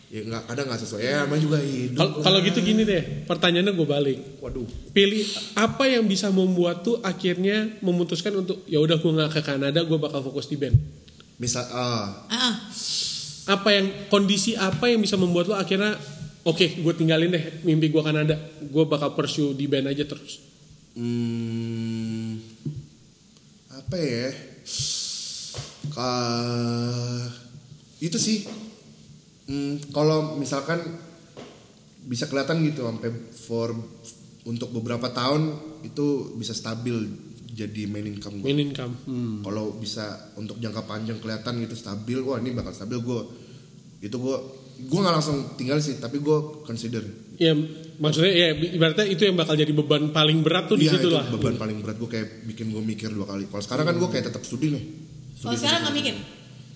ya nggak kadang nggak sesuai ya emang juga hidup
Kalau kalau gitu gini deh, pertanyaannya gue balik.
waduh
Pilih apa yang bisa membuat tuh akhirnya memutuskan untuk ya udah gue nggak ke Kanada, gue bakal fokus di band.
misal ah
ah
Apa yang kondisi apa yang bisa membuat lo akhirnya oke gue tinggalin deh mimpi gue Kanada, gue bakal pursue di band aja terus.
Hmm, apa ya? Ka, itu sih. Hmm, kalau misalkan bisa kelihatan gitu sampai for untuk beberapa tahun itu bisa stabil jadi main income gue.
Main income. Hmm.
Kalau bisa untuk jangka panjang kelihatan gitu stabil, wah ini bakal stabil gue. Itu gue gue nggak langsung tinggal sih, tapi gue consider.
Ya maksudnya ya ibaratnya itu yang bakal jadi beban paling berat tuh di
Iya itu
situ lah.
beban paling berat gue kayak bikin gue mikir dua kali. Kalau sekarang kan gue kayak tetap studi nih.
kalau sekarang nggak mikir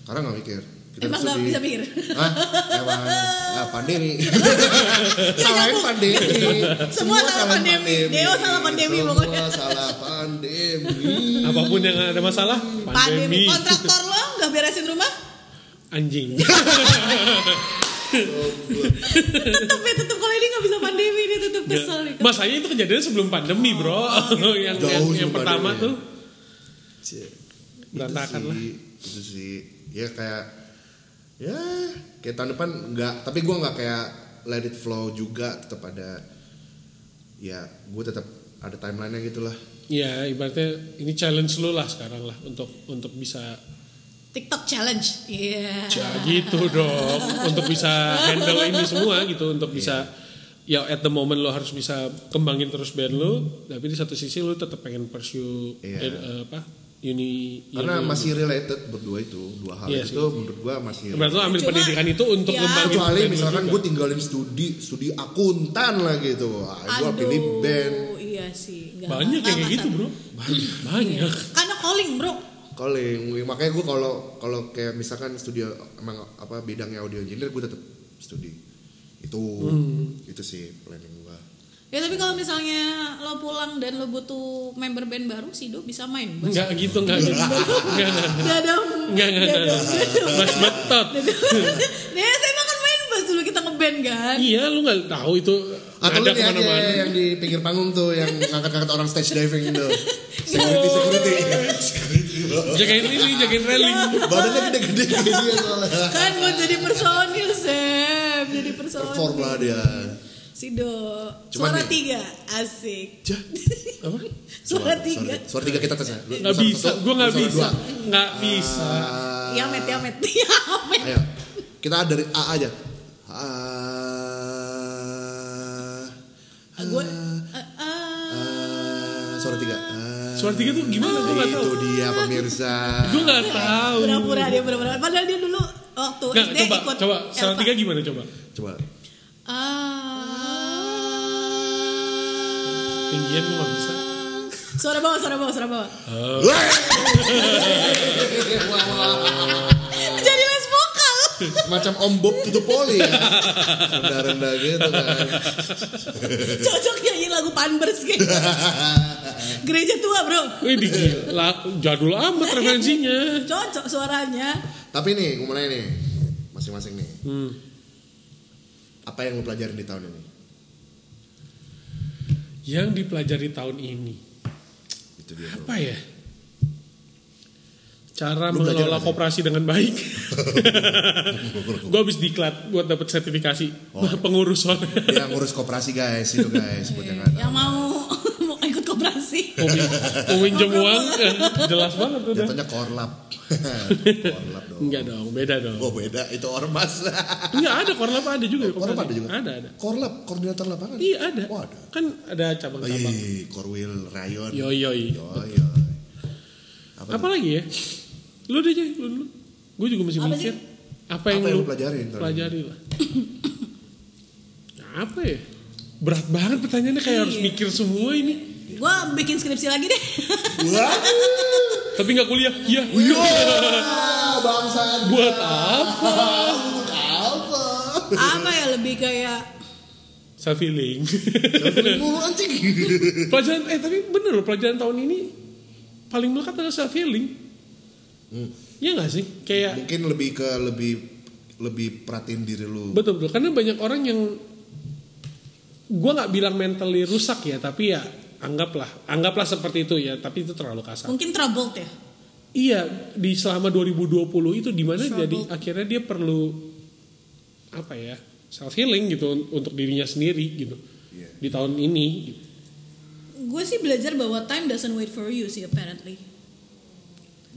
Sekarang nggak mikir.
Emang
tetap
nggak
studi.
bisa mikir?
Hah? Emang ah,
[laughs]
pandemi. Salahin
nyambung.
pandemi.
Semua salah pandemi. Deo salah pandemi
Semua
pokoknya.
salah pandemi.
Apapun yang ada masalah,
[laughs] pandemi
pandemi.
kontraktor lo nggak beresin rumah
Anjing.
tutup ya tutup kalau ini nggak bisa pandemi ini
Ya.
tutup [laughs] kesel nih Oh,
Masanya itu kejadiannya sebelum pandemi bro. [laughs] yang
Jauh
yang, yang
sebelum
pertama
pandemi. ya.
tuh
itu
Berantakan lah.
sih, itu sih. Ya kayak ya kayak tahun depan nggak tapi gue nggak kayak let it flow juga tetap ada ya gue tetap ada timelinenya gitulah
Ya ibaratnya ini challenge lu lah sekarang lah untuk untuk bisa
TikTok challenge. Iya.
ya gitu dong untuk bisa handle ini semua gitu untuk bisa ya at the moment lo harus bisa kembangin terus band lo tapi di satu sisi lo tetap pengen pursue
Iya.
eh, eh, apa uni ya,
karena
uni-
masih related berdua itu dua hal
Iya
itu menurut gua masih
berarti lo ambil
Cuma-
pendidikan itu untuk
Ya.
ngembangin
kecuali
band lo
misalkan
gitu juga.
gue tinggalin studi studi akuntan lah gitu Wah, gue
Aduh,
pilih band
Iya sih. nggak-
banyak
nggak
yang kayak gitu
masalah.
bro banyak
Karena calling bro.
calling makanya gue kalau kalau kayak misalkan studio emang apa bidangnya audio engineer gue tetap studi itu
Hmm.
itu sih planning gue
Ya tapi kalau misalnya lo pulang dan lo butuh member band baru, Sido bisa
[laughs]
main. Bas.
nggak gitu nggak gitu nggak nggak
Nggak dong.
nggak nggak
Nggak
nggak.
dong.
mas betot
[laughs] Ya saya emang kan main bass dulu kita ngeband kan.
iya lu nggak tahu itu
atau
ada
lu nih aja
kemana-mana
ya, yang di pinggir panggung tuh yang ngangkat-ngangkat orang stage diving
[laughs]
tuh security security
jagain ini jagain railing
badannya gede-gede kayak dia soalnya
Ya, Kan mau jadi personil Sam, jadi personil.
perform lah dia
Sido.
Cuman
Suara
nih-
tiga, asik. [laughs]
Jah.
apa
Suara tiga.
suara tiga kita tes ya Lu-
nggak
lu suara
bisa
satu,
gue
lu
nggak
suara
bisa
dua.
nggak bisa
Ya met, ya met, [laughs] ya met.
Ayo, kita dari A aja. Ah,
Gue.
eh,
Eh,
ah, suara tiga. Ah.
suara tiga tuh gimana gue nggak tahu
Itu dia pemirsa.
gue nggak tahu
Pura-pura dia pura-pura. Padahal dia dulu waktu
nggak
SD
coba
ikut.
coba suara
Elva.
tiga gimana coba
Coba.
Ah.
tinggian gue nggak bisa
Suara bawah, suara bawah, suara bawah. [laughs]
Wah. Wah, wah.
Jadi les vokal. [laughs]
Macam Om Bob tutup poli ya. Rendah-rendah gitu kan.
Cocok nyanyi lagu Panbers gitu.
[laughs]
Gereja tua, Bro.
Wih, di gila, jadul amat referensinya.
Cocok suaranya.
Tapi nih, gue mulai nih. Masing-masing nih.
Hmm.
Apa yang lu pelajarin di tahun ini?
Yang dipelajari tahun ini
Itu dia. bro.
apa ya? Cara
Lu belajar
mengelola
apa sih?
koperasi dengan
[laughs]
baik. gue habis diklat buat dapet sertifikasi
Oh.
[laughs] pengurus soalnya.
Dia ngurus koperasi guys, itu guys. Buat yang nggak tahu.
Yang mau [laughs] mau ikut koperasi.
Mau min- mau minjem uang,
[laughs]
eh, jelas banget udah.
Jatuhnya
[laughs]
korlap. korlap dong.
Enggak dong, beda dong.
Oh beda, itu ormas.
Enggak Iya, ada korlap ada juga.
Korlap
koperasi.
ada juga.
Ada ada.
Korlap, koordinator lapangan.
Iya ada.
Oh ada.
Kan ada cabang-cabang.
Iya, Korwil, Rayon.
Yoi yoi.
Yoi, yoi. Apa,
Apa lagi ya? Lu deh, Jay, lu dulu. Gue juga masih
Apa
mikir.
sih?
Apa yang,
Apa yang
lu
lu pelajarin tadi?
Pelajari lah. [coughs] Nah, apa ya? Berat banget pertanyaannya kayak harus
Iya.
mikir semua ini.
Gue bikin skripsi lagi
[laughs]
deh.
Wah,
Tapi nggak kuliah. Iya.
[laughs] wah, bangsa.
[laughs] Buat apa?
Untuk apa?
Apa ya lebih kayak
Self healing.
Selfie Mulu anjing.
[laughs] pelajaran eh tapi bener loh pelajaran tahun ini paling melekat adalah self healing.
Hmm.
Iya nggak sih? Kayak
Mungkin lebih ke lebih lebih perhatiin diri lu.
Betul betul karena banyak orang yang gua nggak bilang mentally rusak ya tapi ya anggaplah anggaplah seperti itu ya tapi itu terlalu kasar.
mungkin troubled ya.
Iya di selama 2020 itu dimana
Trouble.
jadi akhirnya dia perlu apa ya self healing gitu un- untuk dirinya sendiri gitu
Iya.
di tahun ini. gitu.
Gue sih belajar bahwa time doesn't wait for you sih apparently.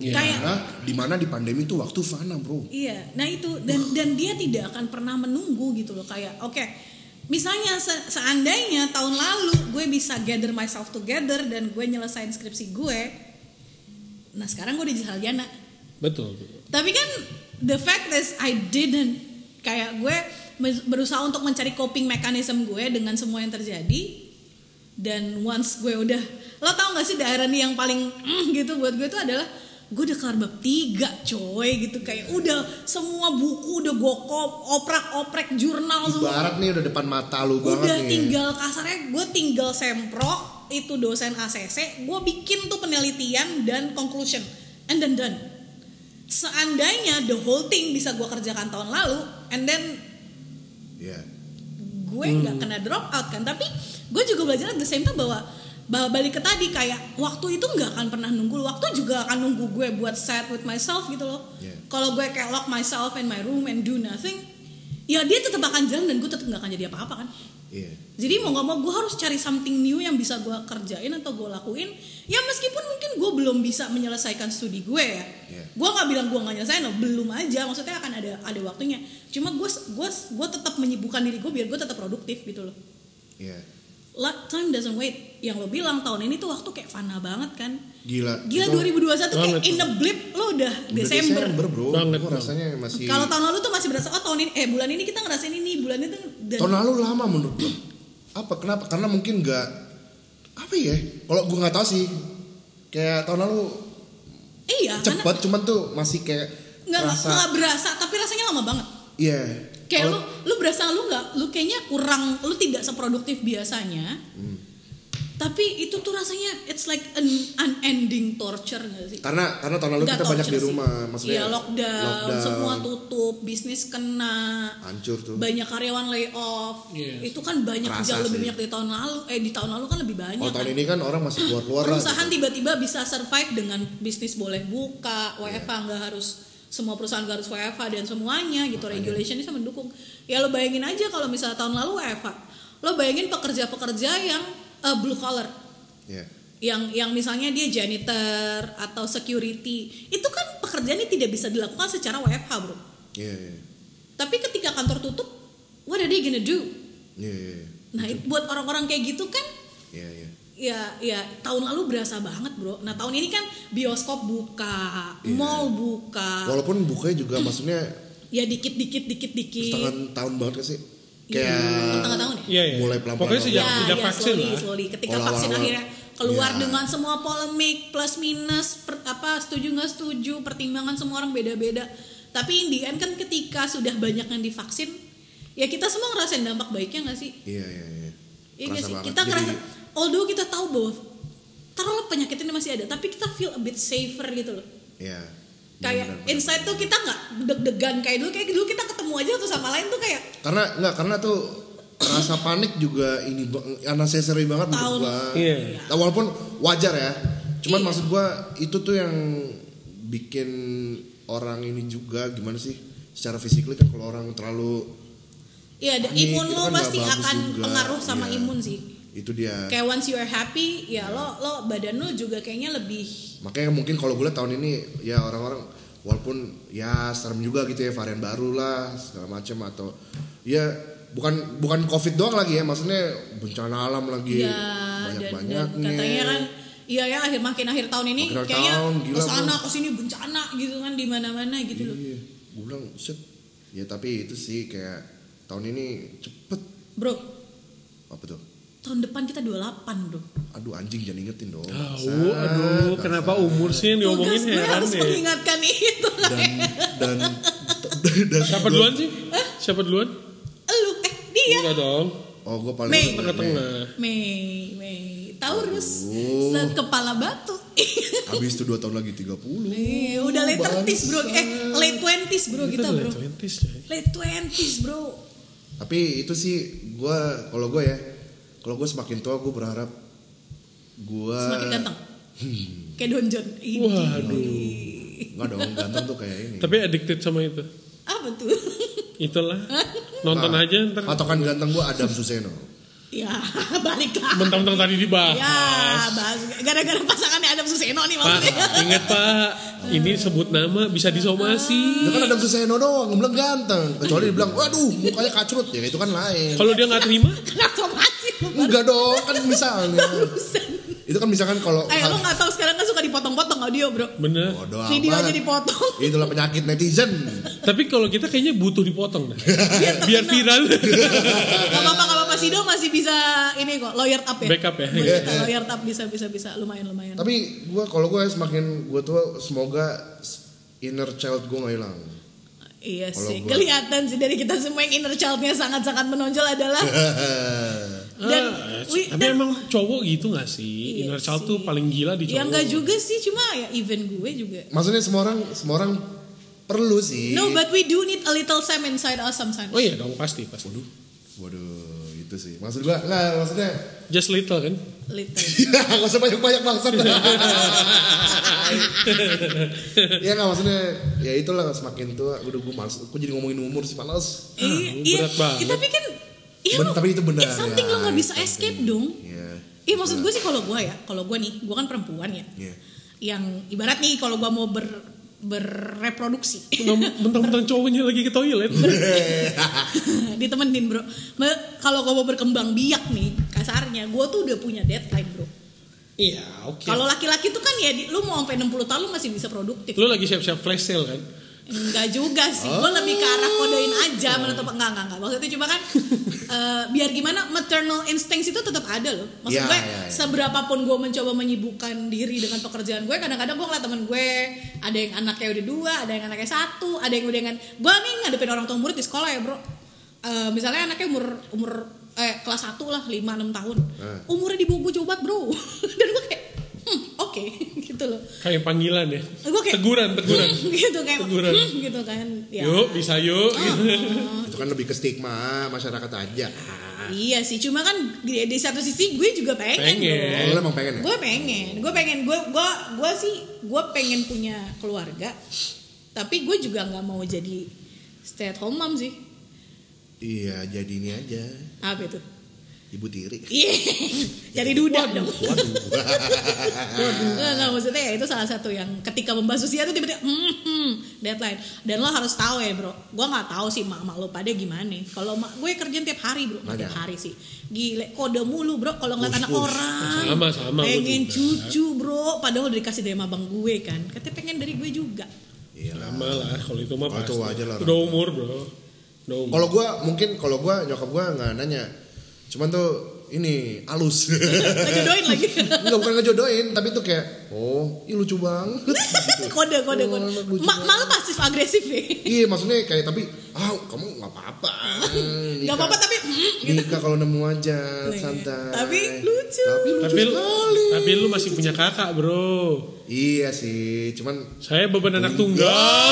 Iya.
Kayak
Karena di mana di pandemi itu waktu fana bro.
Iya, nah itu dan dan dia tidak akan pernah menunggu gitu loh kayak oke. Misalnya se- seandainya tahun lalu gue bisa gather myself together dan gue nyelesain skripsi gue. Nah, sekarang gue di Jalan
Betul. betul.
Tapi kan the fact is I didn't kayak gue mes- berusaha untuk mencari coping mechanism gue dengan semua yang terjadi dan once gue udah lo tau gak sih daerah nih yang paling mm, gitu buat gue itu adalah gue udah kelar bab tiga coy gitu kayak udah semua buku udah gokop oprek-oprek jurnal semua
Ibarat nih udah depan mata lu banget
udah
nih.
tinggal kasarnya gue tinggal sempro itu dosen ACC gue bikin tuh penelitian dan conclusion and then done seandainya the whole thing bisa gue kerjakan tahun lalu and then
Iya.
gue nggak
Hmm.
kena drop out kan tapi gue juga belajar at the same time bahwa bahwa balik ke tadi kayak waktu itu nggak akan pernah nunggu waktu juga akan nunggu gue buat sad with myself gitu loh
Yeah.
kalau gue kayak lock myself in my room and do nothing ya dia tetap akan jalan dan gue tetap nggak akan jadi apa-apa kan
Iya.
jadi mau nggak mau gue harus cari something new yang bisa gue kerjain atau gue lakuin ya meskipun mungkin gue belum bisa menyelesaikan studi gue ya
Iya.
gue nggak bilang gue nggak nyelesain loh belum aja maksudnya akan ada ada waktunya cuma gue gue gue tetap menyibukkan diri gue biar gue tetap produktif gitu loh
Iya.
Lah, time doesn't wait yang lo bilang tahun ini tuh waktu kayak fana banget kan
Gila.
gila
itu
2021 kayak
Banget.
in a blip lo
udah
udah Desember,
bro.
Banget,
Gua
bro.
rasanya masih
kalau tahun lalu tuh masih berasa oh tahun ini eh bulan ini kita ngerasain ini bulan itu dan
tahun lalu lama menurut gue. Apa kenapa? Karena mungkin nggak apa ya? Kalau gue nggak tahu sih. Kayak tahun lalu
iya karena
cepet cuman tuh masih kayak
nggak
rasa
nggak berasa tapi rasanya lama banget
iya.
kayak
Kalau-
lu lu berasa lu nggak lu kayaknya kurang lu tidak seproduktif biasanya
Hmm.
tapi itu tuh rasanya it's like an unending torture nggak sih
karena karena tahun lalu
Nggak
kita banyak di
torture sih.
rumah maksudnya
iya lockdown,
lockdown,
semua tutup bisnis kena
hancur tuh
banyak karyawan layoff
Yes.
itu kan banyak
Kerasa
jauh lebih
sih.
banyak di tahun lalu eh di tahun lalu kan lebih banyak
oh
kan.
tahun ini kan orang masih keluar keluar
perusahaan tiba-tiba bisa survive dengan bisnis boleh buka, WFH nggak harus semua perusahaan nggak harus WFH dan semuanya gitu regulation bisa mendukung. Ya lo bayangin aja kalau misalnya tahun lalu WFH, lo bayangin pekerja-pekerja yang eh, blue collar,
Iya.
yang yang misalnya dia janitor atau security, itu kan pekerjaan ini tidak bisa dilakukan secara WFH bro.
Iya, iya,
Tapi ketika kantor tutup, what are they gonna do?
iya, iya,
Nah it- buat orang-orang kayak gitu kan
iya, iya.
Ya, ya tahun lalu berasa banget bro. Nah tahun ini kan bioskop buka,
Iya.
mall buka,
Walaupun bukanya juga maksudnya
ya dikit dikit dikit dikit.
setengah tahun banget kan sih.
Iya,
Kayak
tengah tahun ya.
Iya, iya.
Mulai pelan-pelan
Pokoknya
dong.
sejak,
ya,
sejak
ya,
vaksin
slowly,
lah.
slowly. Ketika
Awal-awal.
vaksin akhirnya keluar
Iya.
dengan semua polemik plus minus per- apa setuju nggak setuju pertimbangan semua orang beda-beda. Tapi in the end kan ketika sudah banyak yang divaksin, ya kita semua ngerasain dampak baiknya nggak sih?
Iya, iya, iya. Kerasa
Iya nggak sih?
banget.
Kita
Jadi,
kerasa, although kita tahu bahwa taruhlah penyakit ini masih ada, tapi kita feel a bit safer gitu loh.
Iya.
kayak
Benar-benar.
inside tuh kita nggak deg-degan kayak dulu kayak dulu kita ketemu aja satu sama lain tuh kayak
Karena nggak karena tuh rasa panik juga ini unnecessary banget
Tahun.
menurut gua.
Iya.
Nah, walaupun wajar ya. Cuman
Iya.
maksud gua itu tuh yang bikin orang ini juga gimana sih? Secara fisikly kan kalau orang terlalu
ya ada
Panik,
imun
itu
lo
kan nggak
pasti
bagus
akan
juga.
pengaruh sama
Iya.
imun sih
itu dia.
kayak once you are happy ya lo lo badan lo juga kayaknya lebih
Makanya mungkin kalau gue liat tahun ini ya orang-orang walaupun ya serem juga gitu ya varian baru lah segala macam atau ya bukan bukan covid doang lagi ya maksudnya bencana alam lagi
ya
banyak
dan, dan
banyaknya
katanya kan iya ya akhir makin akhir tahun ini
Makin akhir
kayaknya
tahun, gila,
kesana
bro.
kesini bencana gitu kan di mana-mana gitu loh
iya gue bilang set ya tapi itu sih kayak tahun ini cepet
bro
apa tuh
tahun depan kita 28 bro
aduh anjing jangan ingetin dong
Tahu,
Bangsat,
aduh,
bangsat.
kenapa umur sih yang diomongin
Tugas gue
heran ya?
harus
deh.
mengingatkan [laughs] itu
dan dan dan
Siapa duluan sih? Siapa duluan?
lu eh dia
Enggak dong.
oh gue paling
Mei.
Tengah-tengah.
Mei, Mei, Taurus,
Oh.
set kepala batu.
habis itu dua tahun lagi 30
Eh, udah late 30s bro, eh late 20s bro kita gitu, bro.
udah 20s, coy.
Late 20s bro.
tapi itu sih gue kalau gue ya kalau gue semakin tua gue berharap gue
Semakin ganteng. Kayak Don John. Ih,
Waduh.
nggak dong ganteng tuh kayak ini
Tapi addicted sama itu.
Apa tuh? [laughs]
Itulah. Nonton
Nah,
aja ntar.
patokan ganteng gue Adam Suseno
ya, [laughs] balik lah.
Mentang-mentang tadi
Ya,
dibahas.
bahas. Gara-gara pasangannya Adam Suseno nih
Pak,
[laughs] maksudnya.
ingat Pak, ini sebut nama bisa
Ya
disomasi.
Iya.
kan Adam Suseno doang, gue bilang ganteng Kecuali dia bilang, waduh mukanya kacrut Ya itu kan lain
Kalau dia nggak terima,
Kenapa masih lu baru
Enggak dong, kan misalnya
barusan?
Itu kan misalkan kalau
Eh, lo gak tau sekarang kan suka dipotong-potong audio bro.
bener.
Bodoh
Video
amat.
aja
[laughs]
dipotong.
Itulah penyakit netizen
Tapi kalau kita kayaknya butuh dipotong
[laughs]
dah.
Iya.
Biar
terkenal.
viral.
Gak apa-apa, gak apa-apa. Sido masih bisa ini kok, lawyer up ya.
Backup ya.
Boleh, lawyer up bisa, bisa, bisa. Lumayan, lumayan.
Iya. Tapi gue kalau gue semakin gue tua Semoga inner child gue gak hilang [laughs]
iya
kalau
sih,
gua-
kelihatan sih dari kita semua yang inner childnya sangat-sangat menonjol adalah
Iya.
dan
Ah,
wi-
tapi
dan-
emang gitu. cowok gitu gak sih?
Iya
Inner child
sih.
tuh paling gila di cowok.
ya enggak juga sih, cuma ya even gue juga.
Maksudnya semua orang semua orang perlu sih. Iya.
No, but we do need a little Sam inside us sometimes.
Oh iya dong pasti pasti.
Waduh, itu sih. Maksud gua, lah maksudnya [laughs]
Just little kan?
Little.
Gak usah banyak-banyak maksud Ya gak maksudnya Ya itulah semakin tua Udah gue males Gue jadi ngomongin umur sih males
Iya,
lu
iya.
Ah, berat banget.
Ya, tapi kan iya
Ben-
lo-
tapi itu benar,
it's something
ya,
lo nggak bisa
it's something.
escape dong.
Iya
Iya maksud gue sih kalau gue ya, kalau gue nih, gue kan perempuan ya.
Iya
Yang ibarat nih kalau gue mau ber berreproduksi
Ngom- Bentang-bentang cowoknya lagi ke
[laughs]
toilet.
[clears throat] ditemenin bro. Me- Kalau gue mau berkembang biak nih kasarnya, gue tuh udah punya deadline bro.
Iya, oke.
Kalau laki-laki tuh kan ya, di, lu mau sampai 60 tahun lu masih bisa produktif.
Lu lagi siap-siap flash sale kan?
Enggak juga sih,
Oh.
gue lebih ke arah kodein aja menutup enggak enggak enggak. Maksudnya cuma
[laughs]
kan eh, biar gimana maternal instincts itu tetap ada loh. Maksud
Ya,
gue
ya, ya.
seberapapun gue mencoba menyibukkan diri dengan pekerjaan gue, kadang-kadang gue ngeliat temen gue ada yang anaknya udah dua, ada yang anaknya satu, ada yang udah dengan gue nih ngadepin orang tua murid di sekolah ya bro. Eh, misalnya anaknya umur umur eh, kelas 1 lah 5 6 tahun.
Ah.
Umurnya di bawah gue coba bro. [laughs] Dan gue kayak hmm, oke [laughs] gitu loh.
Kayak panggilan ya.
Gue kayak
Teguran, teguran.
"Hmm," [laughs] gitu kayak
Teguran.
"Hmm," gitu kan. Ya.
Yuk, bisa yuk.
Ah.
gitu.
Itu kan lebih ke stigma masyarakat aja
Iya sih, cuma kan di, di satu sisi gue juga pengen,
Pengen.
Oh, Lo emang pengen ya?
bro. Gue pengen, gue pengen, gue gue gue sih gue pengen punya keluarga, tapi gue juga nggak mau jadi stay at home mom sih.
Iya jadi ini aja
Apa itu?
Ibu tiri
Iya, jadi duda dong.
Waduh
[laughs] Nggak, nggak, maksudnya ya itu salah satu yang ketika membahas usia tuh tiba-tiba hmm, hmm, deadline dan lo harus tahu ya bro gue nggak tahu sih mak mak lo pada gimana kalau mak gue kerjaan tiap hari bro
Ada.
tiap hari sih gile kode mulu bro kalau ngeliat
Push,
anak
push.
orang
Sama, sama, gua
pengen
juga.
cucu bro padahal udah dikasih dari abang gue kan katanya pengen dari gue juga
Iya lah
Lama lah, kalau itu mah
Oh, itu
pasti.
wajar lah.
Udah umur bro. Udah umur.
Kalau gua mungkin kalau gua nyokap gua nggak nanya Cuman tuh ini alus [laughs]
ngejodohin lagi [laughs]
Enggak bukan ngejodohin Tapi tuh kayak Oh ih lucu banget gitu.
kode kode
Oh,
kode
lucu
mak mak lo pasif agresif ya
Iya maksudnya kayak tapi ah kamu nggak apa-apa.
nggak
Nikah-
apa apa tapi hmm, gitu
Nikah kalau nemu aja
Nih,
santai.
tapi lucu.
Tapi lucu
tapi, lu-
sekali.
tapi lu masih punya kakak bro.
Iya sih, cuman
Saya beban anak tunggal.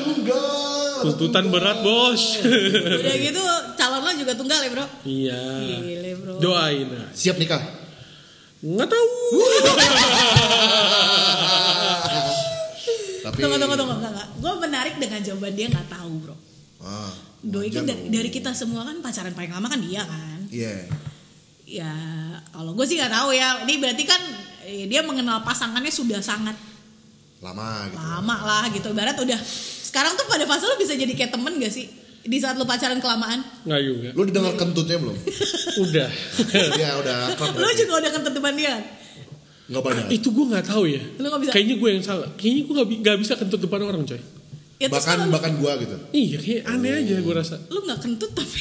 tunggal.
Tuntutan berat bos. [laughs]
udah gitu calon lo juga tunggal ya bro
Iya.
Gile bro
Doain lah.
Siap nikah.
Nggak tahu.
Tapi
Tunggu, tunggu, tunggu, enggak, enggak. Gue menarik dengan jawaban dia nggak tahu, bro.
Ah,
Doi kan
wajar
dari,
dong.
dari kita semua kan pacaran paling lama kan dia kan.
Iya.
Ya, kalau gue sih nggak tahu ya. Ini berarti kan eh, dia mengenal pasangannya sudah sangat
Lama gitu.
lama lah gitu. Barat udah. Sekarang tuh pada fase lo bisa jadi kayak temen gak sih? Di saat lo pacaran kelamaan.
Nggak juga.
Lu didengar kentutnya
[laughs]
belum? [laughs]
Udah.
Iya udah akrab.
Lo juga udah ketentuan dia kan?
Enggak banyak.
Iya,
Itu gue nggak tahu ya.
Lu nggak bisa.
Kayaknya gue yang salah. Kayaknya gue nggak bi- nggak bisa kentut depan orang coy.
Ya, terus
Bahkan
kalau
bahkan gua gitu.
Iya kayak aneh aja gue rasa.
lo nggak kentut tapi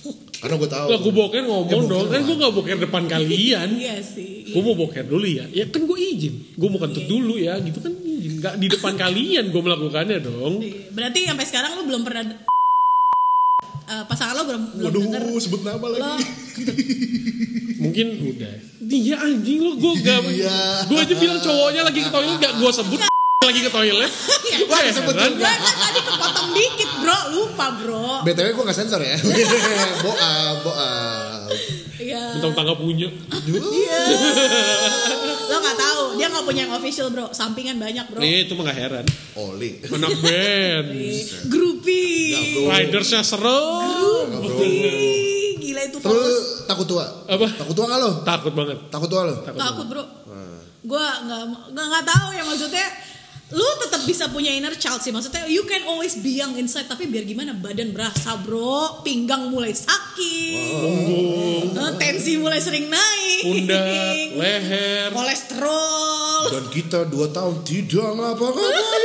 bokeh.
Karena gua tahu.
Lah gue boker ngomong
Ya, boker
dong. Kan
lah.
gue nggak boker depan kalian.
[laughs] [laughs] Iya sih.
Gue mau boker dulu ya. Ya kan gue izin. Gue mau
Iya.
kentut dulu ya. Gitu kan izin. Nggak di
[laughs]
depan kalian gue melakukannya dong.
Iya. Berarti sampai sekarang lo belum pernah Eh, pasangan lo belum belum denger Iya.
Waduh, sebut nama
lo
lagi.
Mungkin udah. Iya anjing lo gue gak.
[laughs] Iya.
Gue aja bilang cowoknya lagi ke toilet gak gue sebut [laughs] lagi ke toilet.
Wah,
Heran.
ya sebut juga.
Gak, kan tadi kepotong dikit bro, lupa bro
BTW gue gak sensor ya [laughs] ah, Boab, boab
Iya
Bentang tangga punya.
Iya. Lo gak tahu dia gak punya yang official bro Sampingan banyak
Iya.
bro
Nih itu mah gak heran.
Oli
Anak band.
Nggak,
Grupi
bro.
Ridersnya seru.
Ih, Gila itu
Terus
fokus
takut tua
Apa?
Takut tua gak lo?
Takut banget.
Takut tua lo?
Takut bro Gue gak, gak, gak tahu ya maksudnya lu tetap bisa punya inner child sih maksudnya you can always be young inside tapi biar gimana badan berasa bro pinggang mulai sakit
Punggung,
Eh, tensi mulai sering
[laughs]
naik
pundak, leher.
[laughs] kolesterol
Dan kita 2 tahun tidak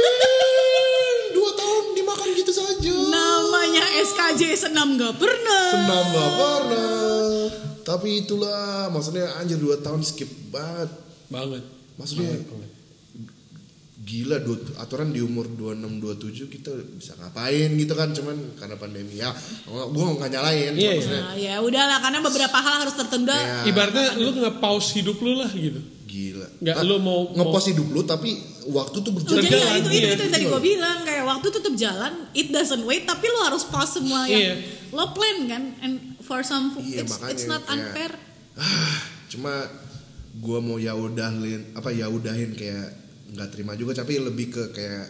ngapa-ngapain 2 tahun dimakan gitu saja
Namanya SKJ senam gak pernah.
Senam gak pernah Tapi itulah Maksudnya anjir 2 tahun skip banget
Banget.
Maksudnya Gila dua, aturan di umur 26 27 kita bisa ngapain gitu kan cuman karena pandemi ya gue nggak nyalain cuma
Iya, iya.
maksudnya Iya.
Nah, ya udahlah karena beberapa hal harus tertunda.
kayak-
Ibaratnya lu nge-pause hidup lu lah gitu.
Gila.
Nggak,
Ah,
lu mau-
ngepost hidup lu tapi waktu tuh
Tuh,
berjalan.
jadi ya
Jalan,
itu, itu,
iya.
itu yang tadi gue bilang kayak waktu tetap jalan, it doesn't wait, tapi lo harus pause semua
Iya.
yang lo plan kan, and for some
Iya,
it's,
makanya,
it's not
kayak-
unfair.
Ah, Cuma gua mau ya udahin apa ya udahin kayak nggak terima juga tapi lebih ke kayak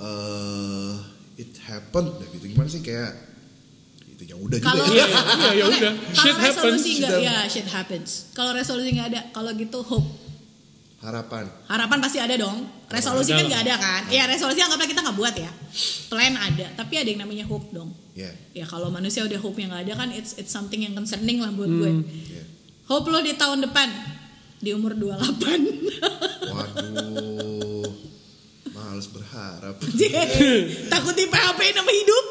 eh it happened dah gitu. Gimana sih kayak itu ya udah
Kalau [laughs]
juga. Ya.
iya, ya
Oke,
udah. Shit
Kalau resolusi
happens.
nggak,
Sudah.
ya shit happens. Kalau resolusi nggak ada, kalau gitu hope.
Harapan.
Harapan pasti ada dong. Resolusi
Ada
kan
lah.
nggak ada kan? Ya resolusi anggaplah kita nggak buat ya. Plan ada, tapi ada yang namanya hope dong.
Ya.
Ya kalau manusia udah hope yang nggak ada kan, it's it's something yang concerning lah buat gue.
Hmm.
ya.
Hope lo di tahun depan di umur 28
Waduh. Males berharap.
Takut di PHP nama hidup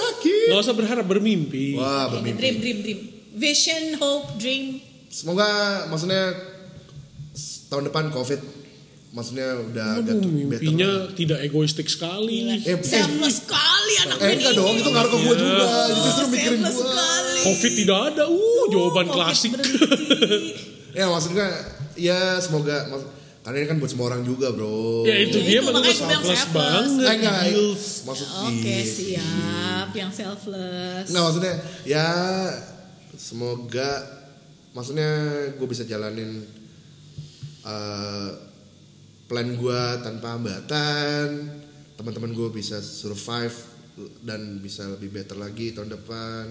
Sakit.
Gak usah berharap bermimpi.
Wah, bermimpi.
Dream, dream, dream Vision, hope, dream
Semoga maksudnya s- tahun depan Covid maksudnya udah agak
Aduh, mimpinya tidak egoistik sekali.
Eh, eh,
Selfless sekali anak
eh
band
enggak
ini.
dong, itu ngaruh ke gue
Iya.
juga. Itu justru
Oh,
mikirin Oh,
selfless
gue.
sekali.
Covid tidak ada. Uh, jawaban
Oh, Covid
klasik.
berhenti.
Ya maksudnya ya semoga mak- karena ini kan buat semua orang juga, Bro.
[laughs] ya itu
Ya,
dia
itu
menurut
makanya gue bilang
gue selfless
selfless.
Eh,
banget.
enggak,
Gils.
maksud
Oke
iya.
siap Yang selfless
Enggak maksudnya ya semoga maksudnya gue bisa jalanin eh, plan gue tanpa hambatan teman-teman gue bisa survive dan bisa lebih better lagi tahun depan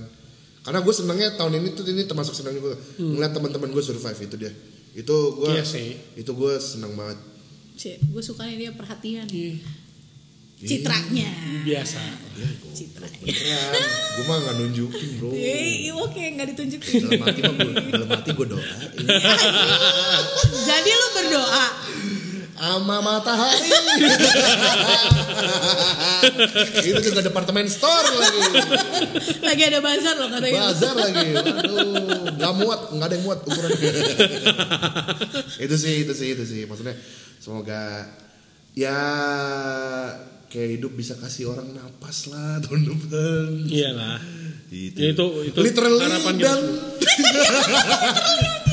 karena gue senangnya tahun ini tuh ini termasuk senang gue ngeliat teman-teman gue survive itu dia itu gue
Hmm. Iya sih.
itu gue senang banget
Cik, Gue suka nih dia perhatian
Iya.
Citranya
Biasa.
Iya.
Citranya
gue mah nggak nunjukin
[laughs]
bro
Eh, oke nggak ditunjukin
dalam hati mah gue dalam hati gue doa
Jadi lu berdoa
sama matahari [laughs] itu juga departemen store lagi
Lagi ada bazar loh katanya
bazar lagi aduh nggak muat nggak ada yang muat ukurannya itu sih itu sih itu sih maksudnya semoga ya kayak hidup bisa kasih orang napas lah tahun depan
Iyalah.
itu,
Ya, itu- itu
literally
harapan kita
dan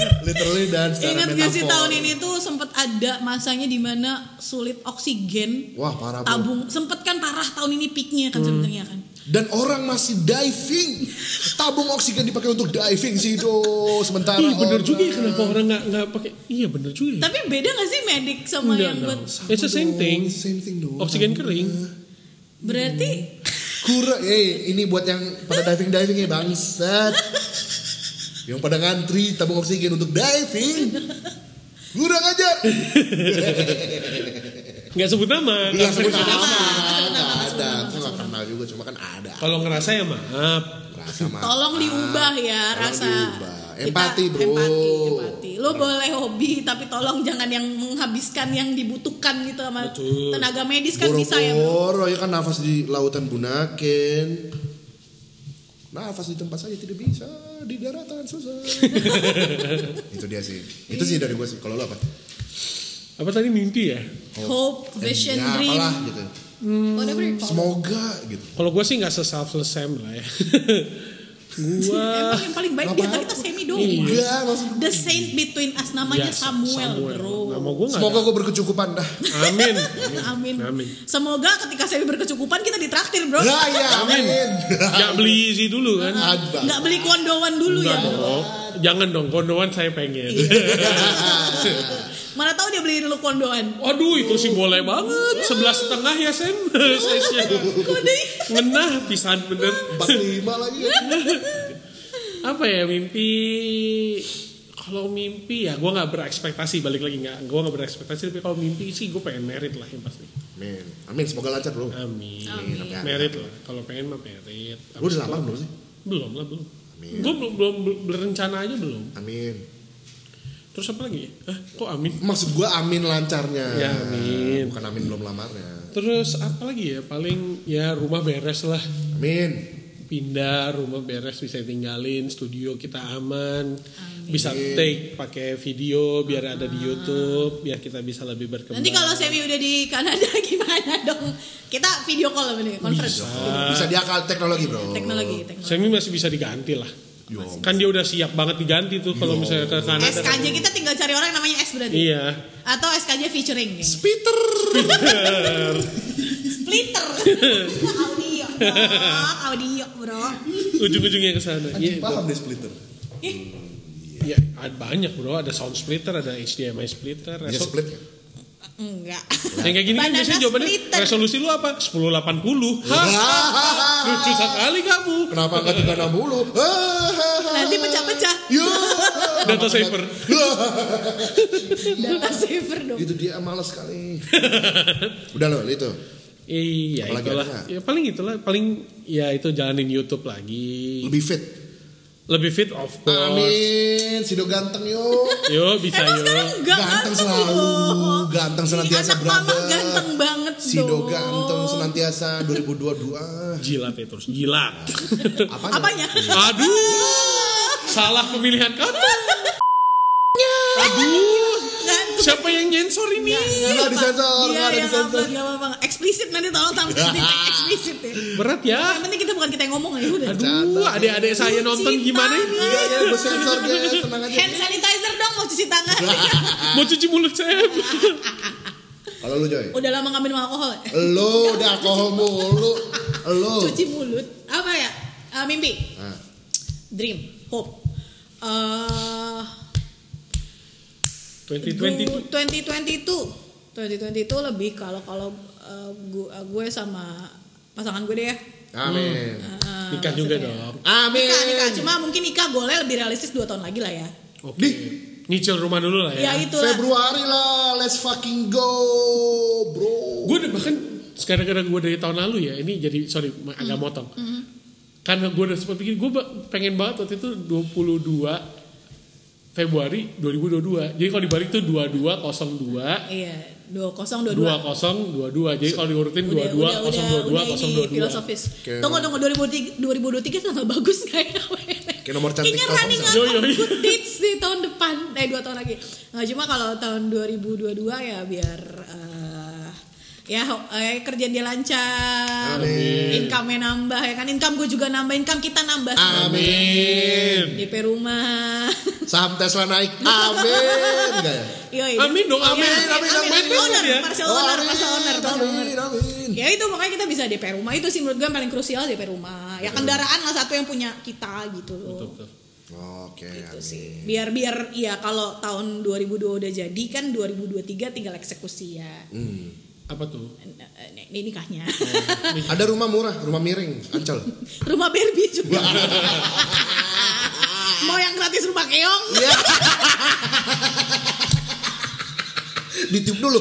[laughs] literally dan secara
Ingat gak
metafor
sih tahun ini tuh sempet ada masanya dimana sulit oksigen
wah parah bro.
tabung sempet kan parah tahun ini peaknya
Hmm.
kan sebenarnya kan
Dan orang masih diving. Tabung oksigen dipakai untuk diving sih do. Sementara
Ih,
orang-
bener juga ya kenapa orang nggak nggak pakai? Iya bener juga. ya.
tapi beda gak sih medik sama
Nggak,
yang
nggak.
buat
It's the same
Oh,
thing.
Same thing do.
Oksigen kering.
berarti
Hmm. Kurang. Eh, ini buat yang pada diving diving ya bangsat. yang pada ngantri tabung oksigen untuk diving. Kurang aja.
Nggak sebut
Iya,
nama. nggak sebut
sebut
nama.
nama. Nggak ada. Aku nggak kenal juga, cuma kan ada.
Kalau ngerasa ya maaf.
Rasa mah.
tolong diubah ya
Ah, Tolong
rasa
diubah.
kita-
Empati, bro.
empati empati lo boleh hobi tapi tolong jangan yang menghabiskan yang dibutuhkan gitu sama
Betul.
tenaga medis kan bisa ya bro
Boro-boro ya kan nafas di lautan bunaken. Nafas di tempat saya tidak bisa, di daratan susah. [laughs] itu dia sih. Itu sih dari gue sih. Kalau lo apa?
Apa tadi mimpi ya?
hope vision
ya,
dream
apalah, gitu.
whatever you call it.
Semoga gitu.
Kalau gue sih nggak se-selfless Sam lah ya. [laughs]
Emang
Gua
yang paling baik
Apa?
di antara kita semi doang
Enggak, maksud
The saint between us
Iya,
namanya
Biasa,
Samuel, bro.
Ya, Nama gue nggak.
Semoga gue berkecukupan dah.
ada. Amin.
[laughs]
Amin.
Amin.
Semoga ketika saya berkecukupan kita ditraktir, bro.
Lah ya, amin.
Nggak beli easy dulu kan?
Adbang.
Nggak beli kondoan dulu
Nggak
ya. bro.
dong. Jangan dong. Kondoan saya pengen. [laughs]
Mana tahu dia beliin lu
[laughs]
kondoan.
Waduh itu sih boleh banget. Sebelas setengah ya [laughs] Sam. Size-nya.
Kode.
Ngenah pisan bener.
45 lagi.
apa ya mimpi kalau mimpi ya gue nggak berekspektasi balik lagi nggak gue nggak berekspektasi tapi kalau mimpi sih gue pengen merit lah yang pasti
Amin. Amin, semoga lancar, Bro.
amin,
Amin.
Ya.
merit lah kalau pengen mah merit
Lu udah lama belum sih?
belum lah belum
Amin.
gue belum belum berencana aja belum
Amin.
terus apa lagi Hah, kok amin
Maksud gue amin lancarnya.
Ya, amin.
Bukan amin belum lamarnya.
terus apa lagi ya paling ya rumah beres lah
Amin.
pindah rumah beres bisa tinggalin studio kita aman bisa take pakai video biar ada di YouTube biar kita bisa lebih berkembang
Ah. Nanti kalau Semi udah di Kanada [laughs] gimana dong? Kita video call apa nih? Conference.
Ah.
Bisa diakal teknologi, Bro.
Teknologi, teknologi.
Semi masih bisa diganti lah.
Yo.
Kan dia udah siap banget diganti tuh kalau misalnya ke Kanada.
SKJ kita tinggal cari orang namanya S berarti.
Iya.
Atau SKJ featuring.
[laughs]
kayaknya.
Peter.
[laughs]
Splitter. audio, bro. audio, bro.
Ujung-ujungnya ke sana.
Anjing
Iya.
paham deh splitter.
Ih,
Iya, ada banyak bro, ada sound splitter, ada HDMI splitter,
Dia
resol-
split ya?
enggak.
yang kayak gini kan
Banana
biasanya jawabannya
splitter.
resolusi lu apa? 1080. Hah? Iya. Lucu sekali kamu.
Ah. Kenapa nggak tiga enam puluh? Ah.
Nanti pecah-pecah.
Yo.
Data saver.
Data saver dong.
Itu dia malas
[laughs]
sekali. Udah loh itu.
Iya,
Apalagi
itulah.
ada nggak?
Ya paling itulah, paling ya itu jalanin YouTube lagi.
Lebih fit.
Lebih fit of course.
Amin. Sido ganteng yo.
Yo bisa
Emang Nah,
yo.
sekarang enggak
Ganteng
ganteng,
selalu.
loh.
Ganteng senantiasa,
Anak mama
brother.
ganteng banget
Sido
dong.
ganteng senantiasa 2022.
Jilat ya terus, jilat.
Apanya?
Apanya?
Aduh, salah pemilihan kata. Aduh,
[laughs] Ganteng.
siapa yang nyensor ini?
Iya, Nggak disensor,
Iya,
nggak ada
yang
disensor.
upload, nggak apa-apa. Eksplisit nanti tolong tampil eksplisit ya.
Berat ya.
Yang penting kita bukan kita yang ngomong ya udah.
Aduh, adik-adik saya nonton
Cinta.
gimana ini?
Iya, iya, gue sensor guys, tenang aja.
Hand sanitizer dong mau cuci
[laughs]
tangan.
Mau cuci mulut saya.
Kalau lu Joy,
udah lama nggak minum alkohol. ya?
lu udah alkohol mulu, lu.
Cuci mulut. Apa ya? Eh, mimpi,
Nah,
dream, hope. Eh,
2022.
2022 2022 lebih kalau kalau eh, gu- eh, gue sama pasangan gue deh ya.
amin.
Eh,
Nikah juga
maksudnya-
dong.
Amin.
Nikah, nikah. Cuma mungkin nikah golnya lebih realistis 2 tahun lagi lah ya.
Di
Nyicil rumah dulu lah
Ya,
ya.
itu lah.
Februari lah, let's fucking go, bro.
Gue udah bahkan sekarang-kadang gue dari tahun lalu ya, ini jadi sorry agak motong. Karena gue udah sempat pikir gue pengen banget waktu itu 22 Februari 2022. Jadi kalau dibalik tuh 2202
Iya, 2022.
2022. Jadi kalau diurutin 22 022 022.
filosofis.
Oke.
Tunggu tunggu 2023 2023 tanggal [laughs] bagus nggak ya?
Kayak nomor cantik
Kayaknya
telkom
running
sama.
out
Yo, yo,
of
yo.
good dates di tahun depan. Eh dua tahun lagi. Nggak cuma kalau tahun 2022 ya biar eh, ya eh, kerjaan dia lancar, income-nya nambah ya kan, income gue juga nambah, income kita nambah,
Amin.
DP rumah,
Saham Tesla naik, amin.
[laughs]
Enggak ya?
Yoi,
Amin dong, amin,
Iya,
amin, amin, amin.
owner,
Ya.
partial
Oh,
owner,
amin,
partial owner, partial owner.
amin, amin.
ya itu makanya kita bisa DP rumah itu sih menurut gue yang paling krusial DP rumah ya kendaraan lah satu yang punya kita gitu loh
Betul, betul.
Oke, amin.
Itu sih biar biar ya kalau tahun 2002 udah jadi kan 2023 tinggal eksekusi ya
Apa tuh?
Ini- ini nikahnya [laughs]
Ada rumah murah, rumah miring, ancol.
rumah Barbie juga mau yang gratis rumah keong
Iya. Ditiup dulu.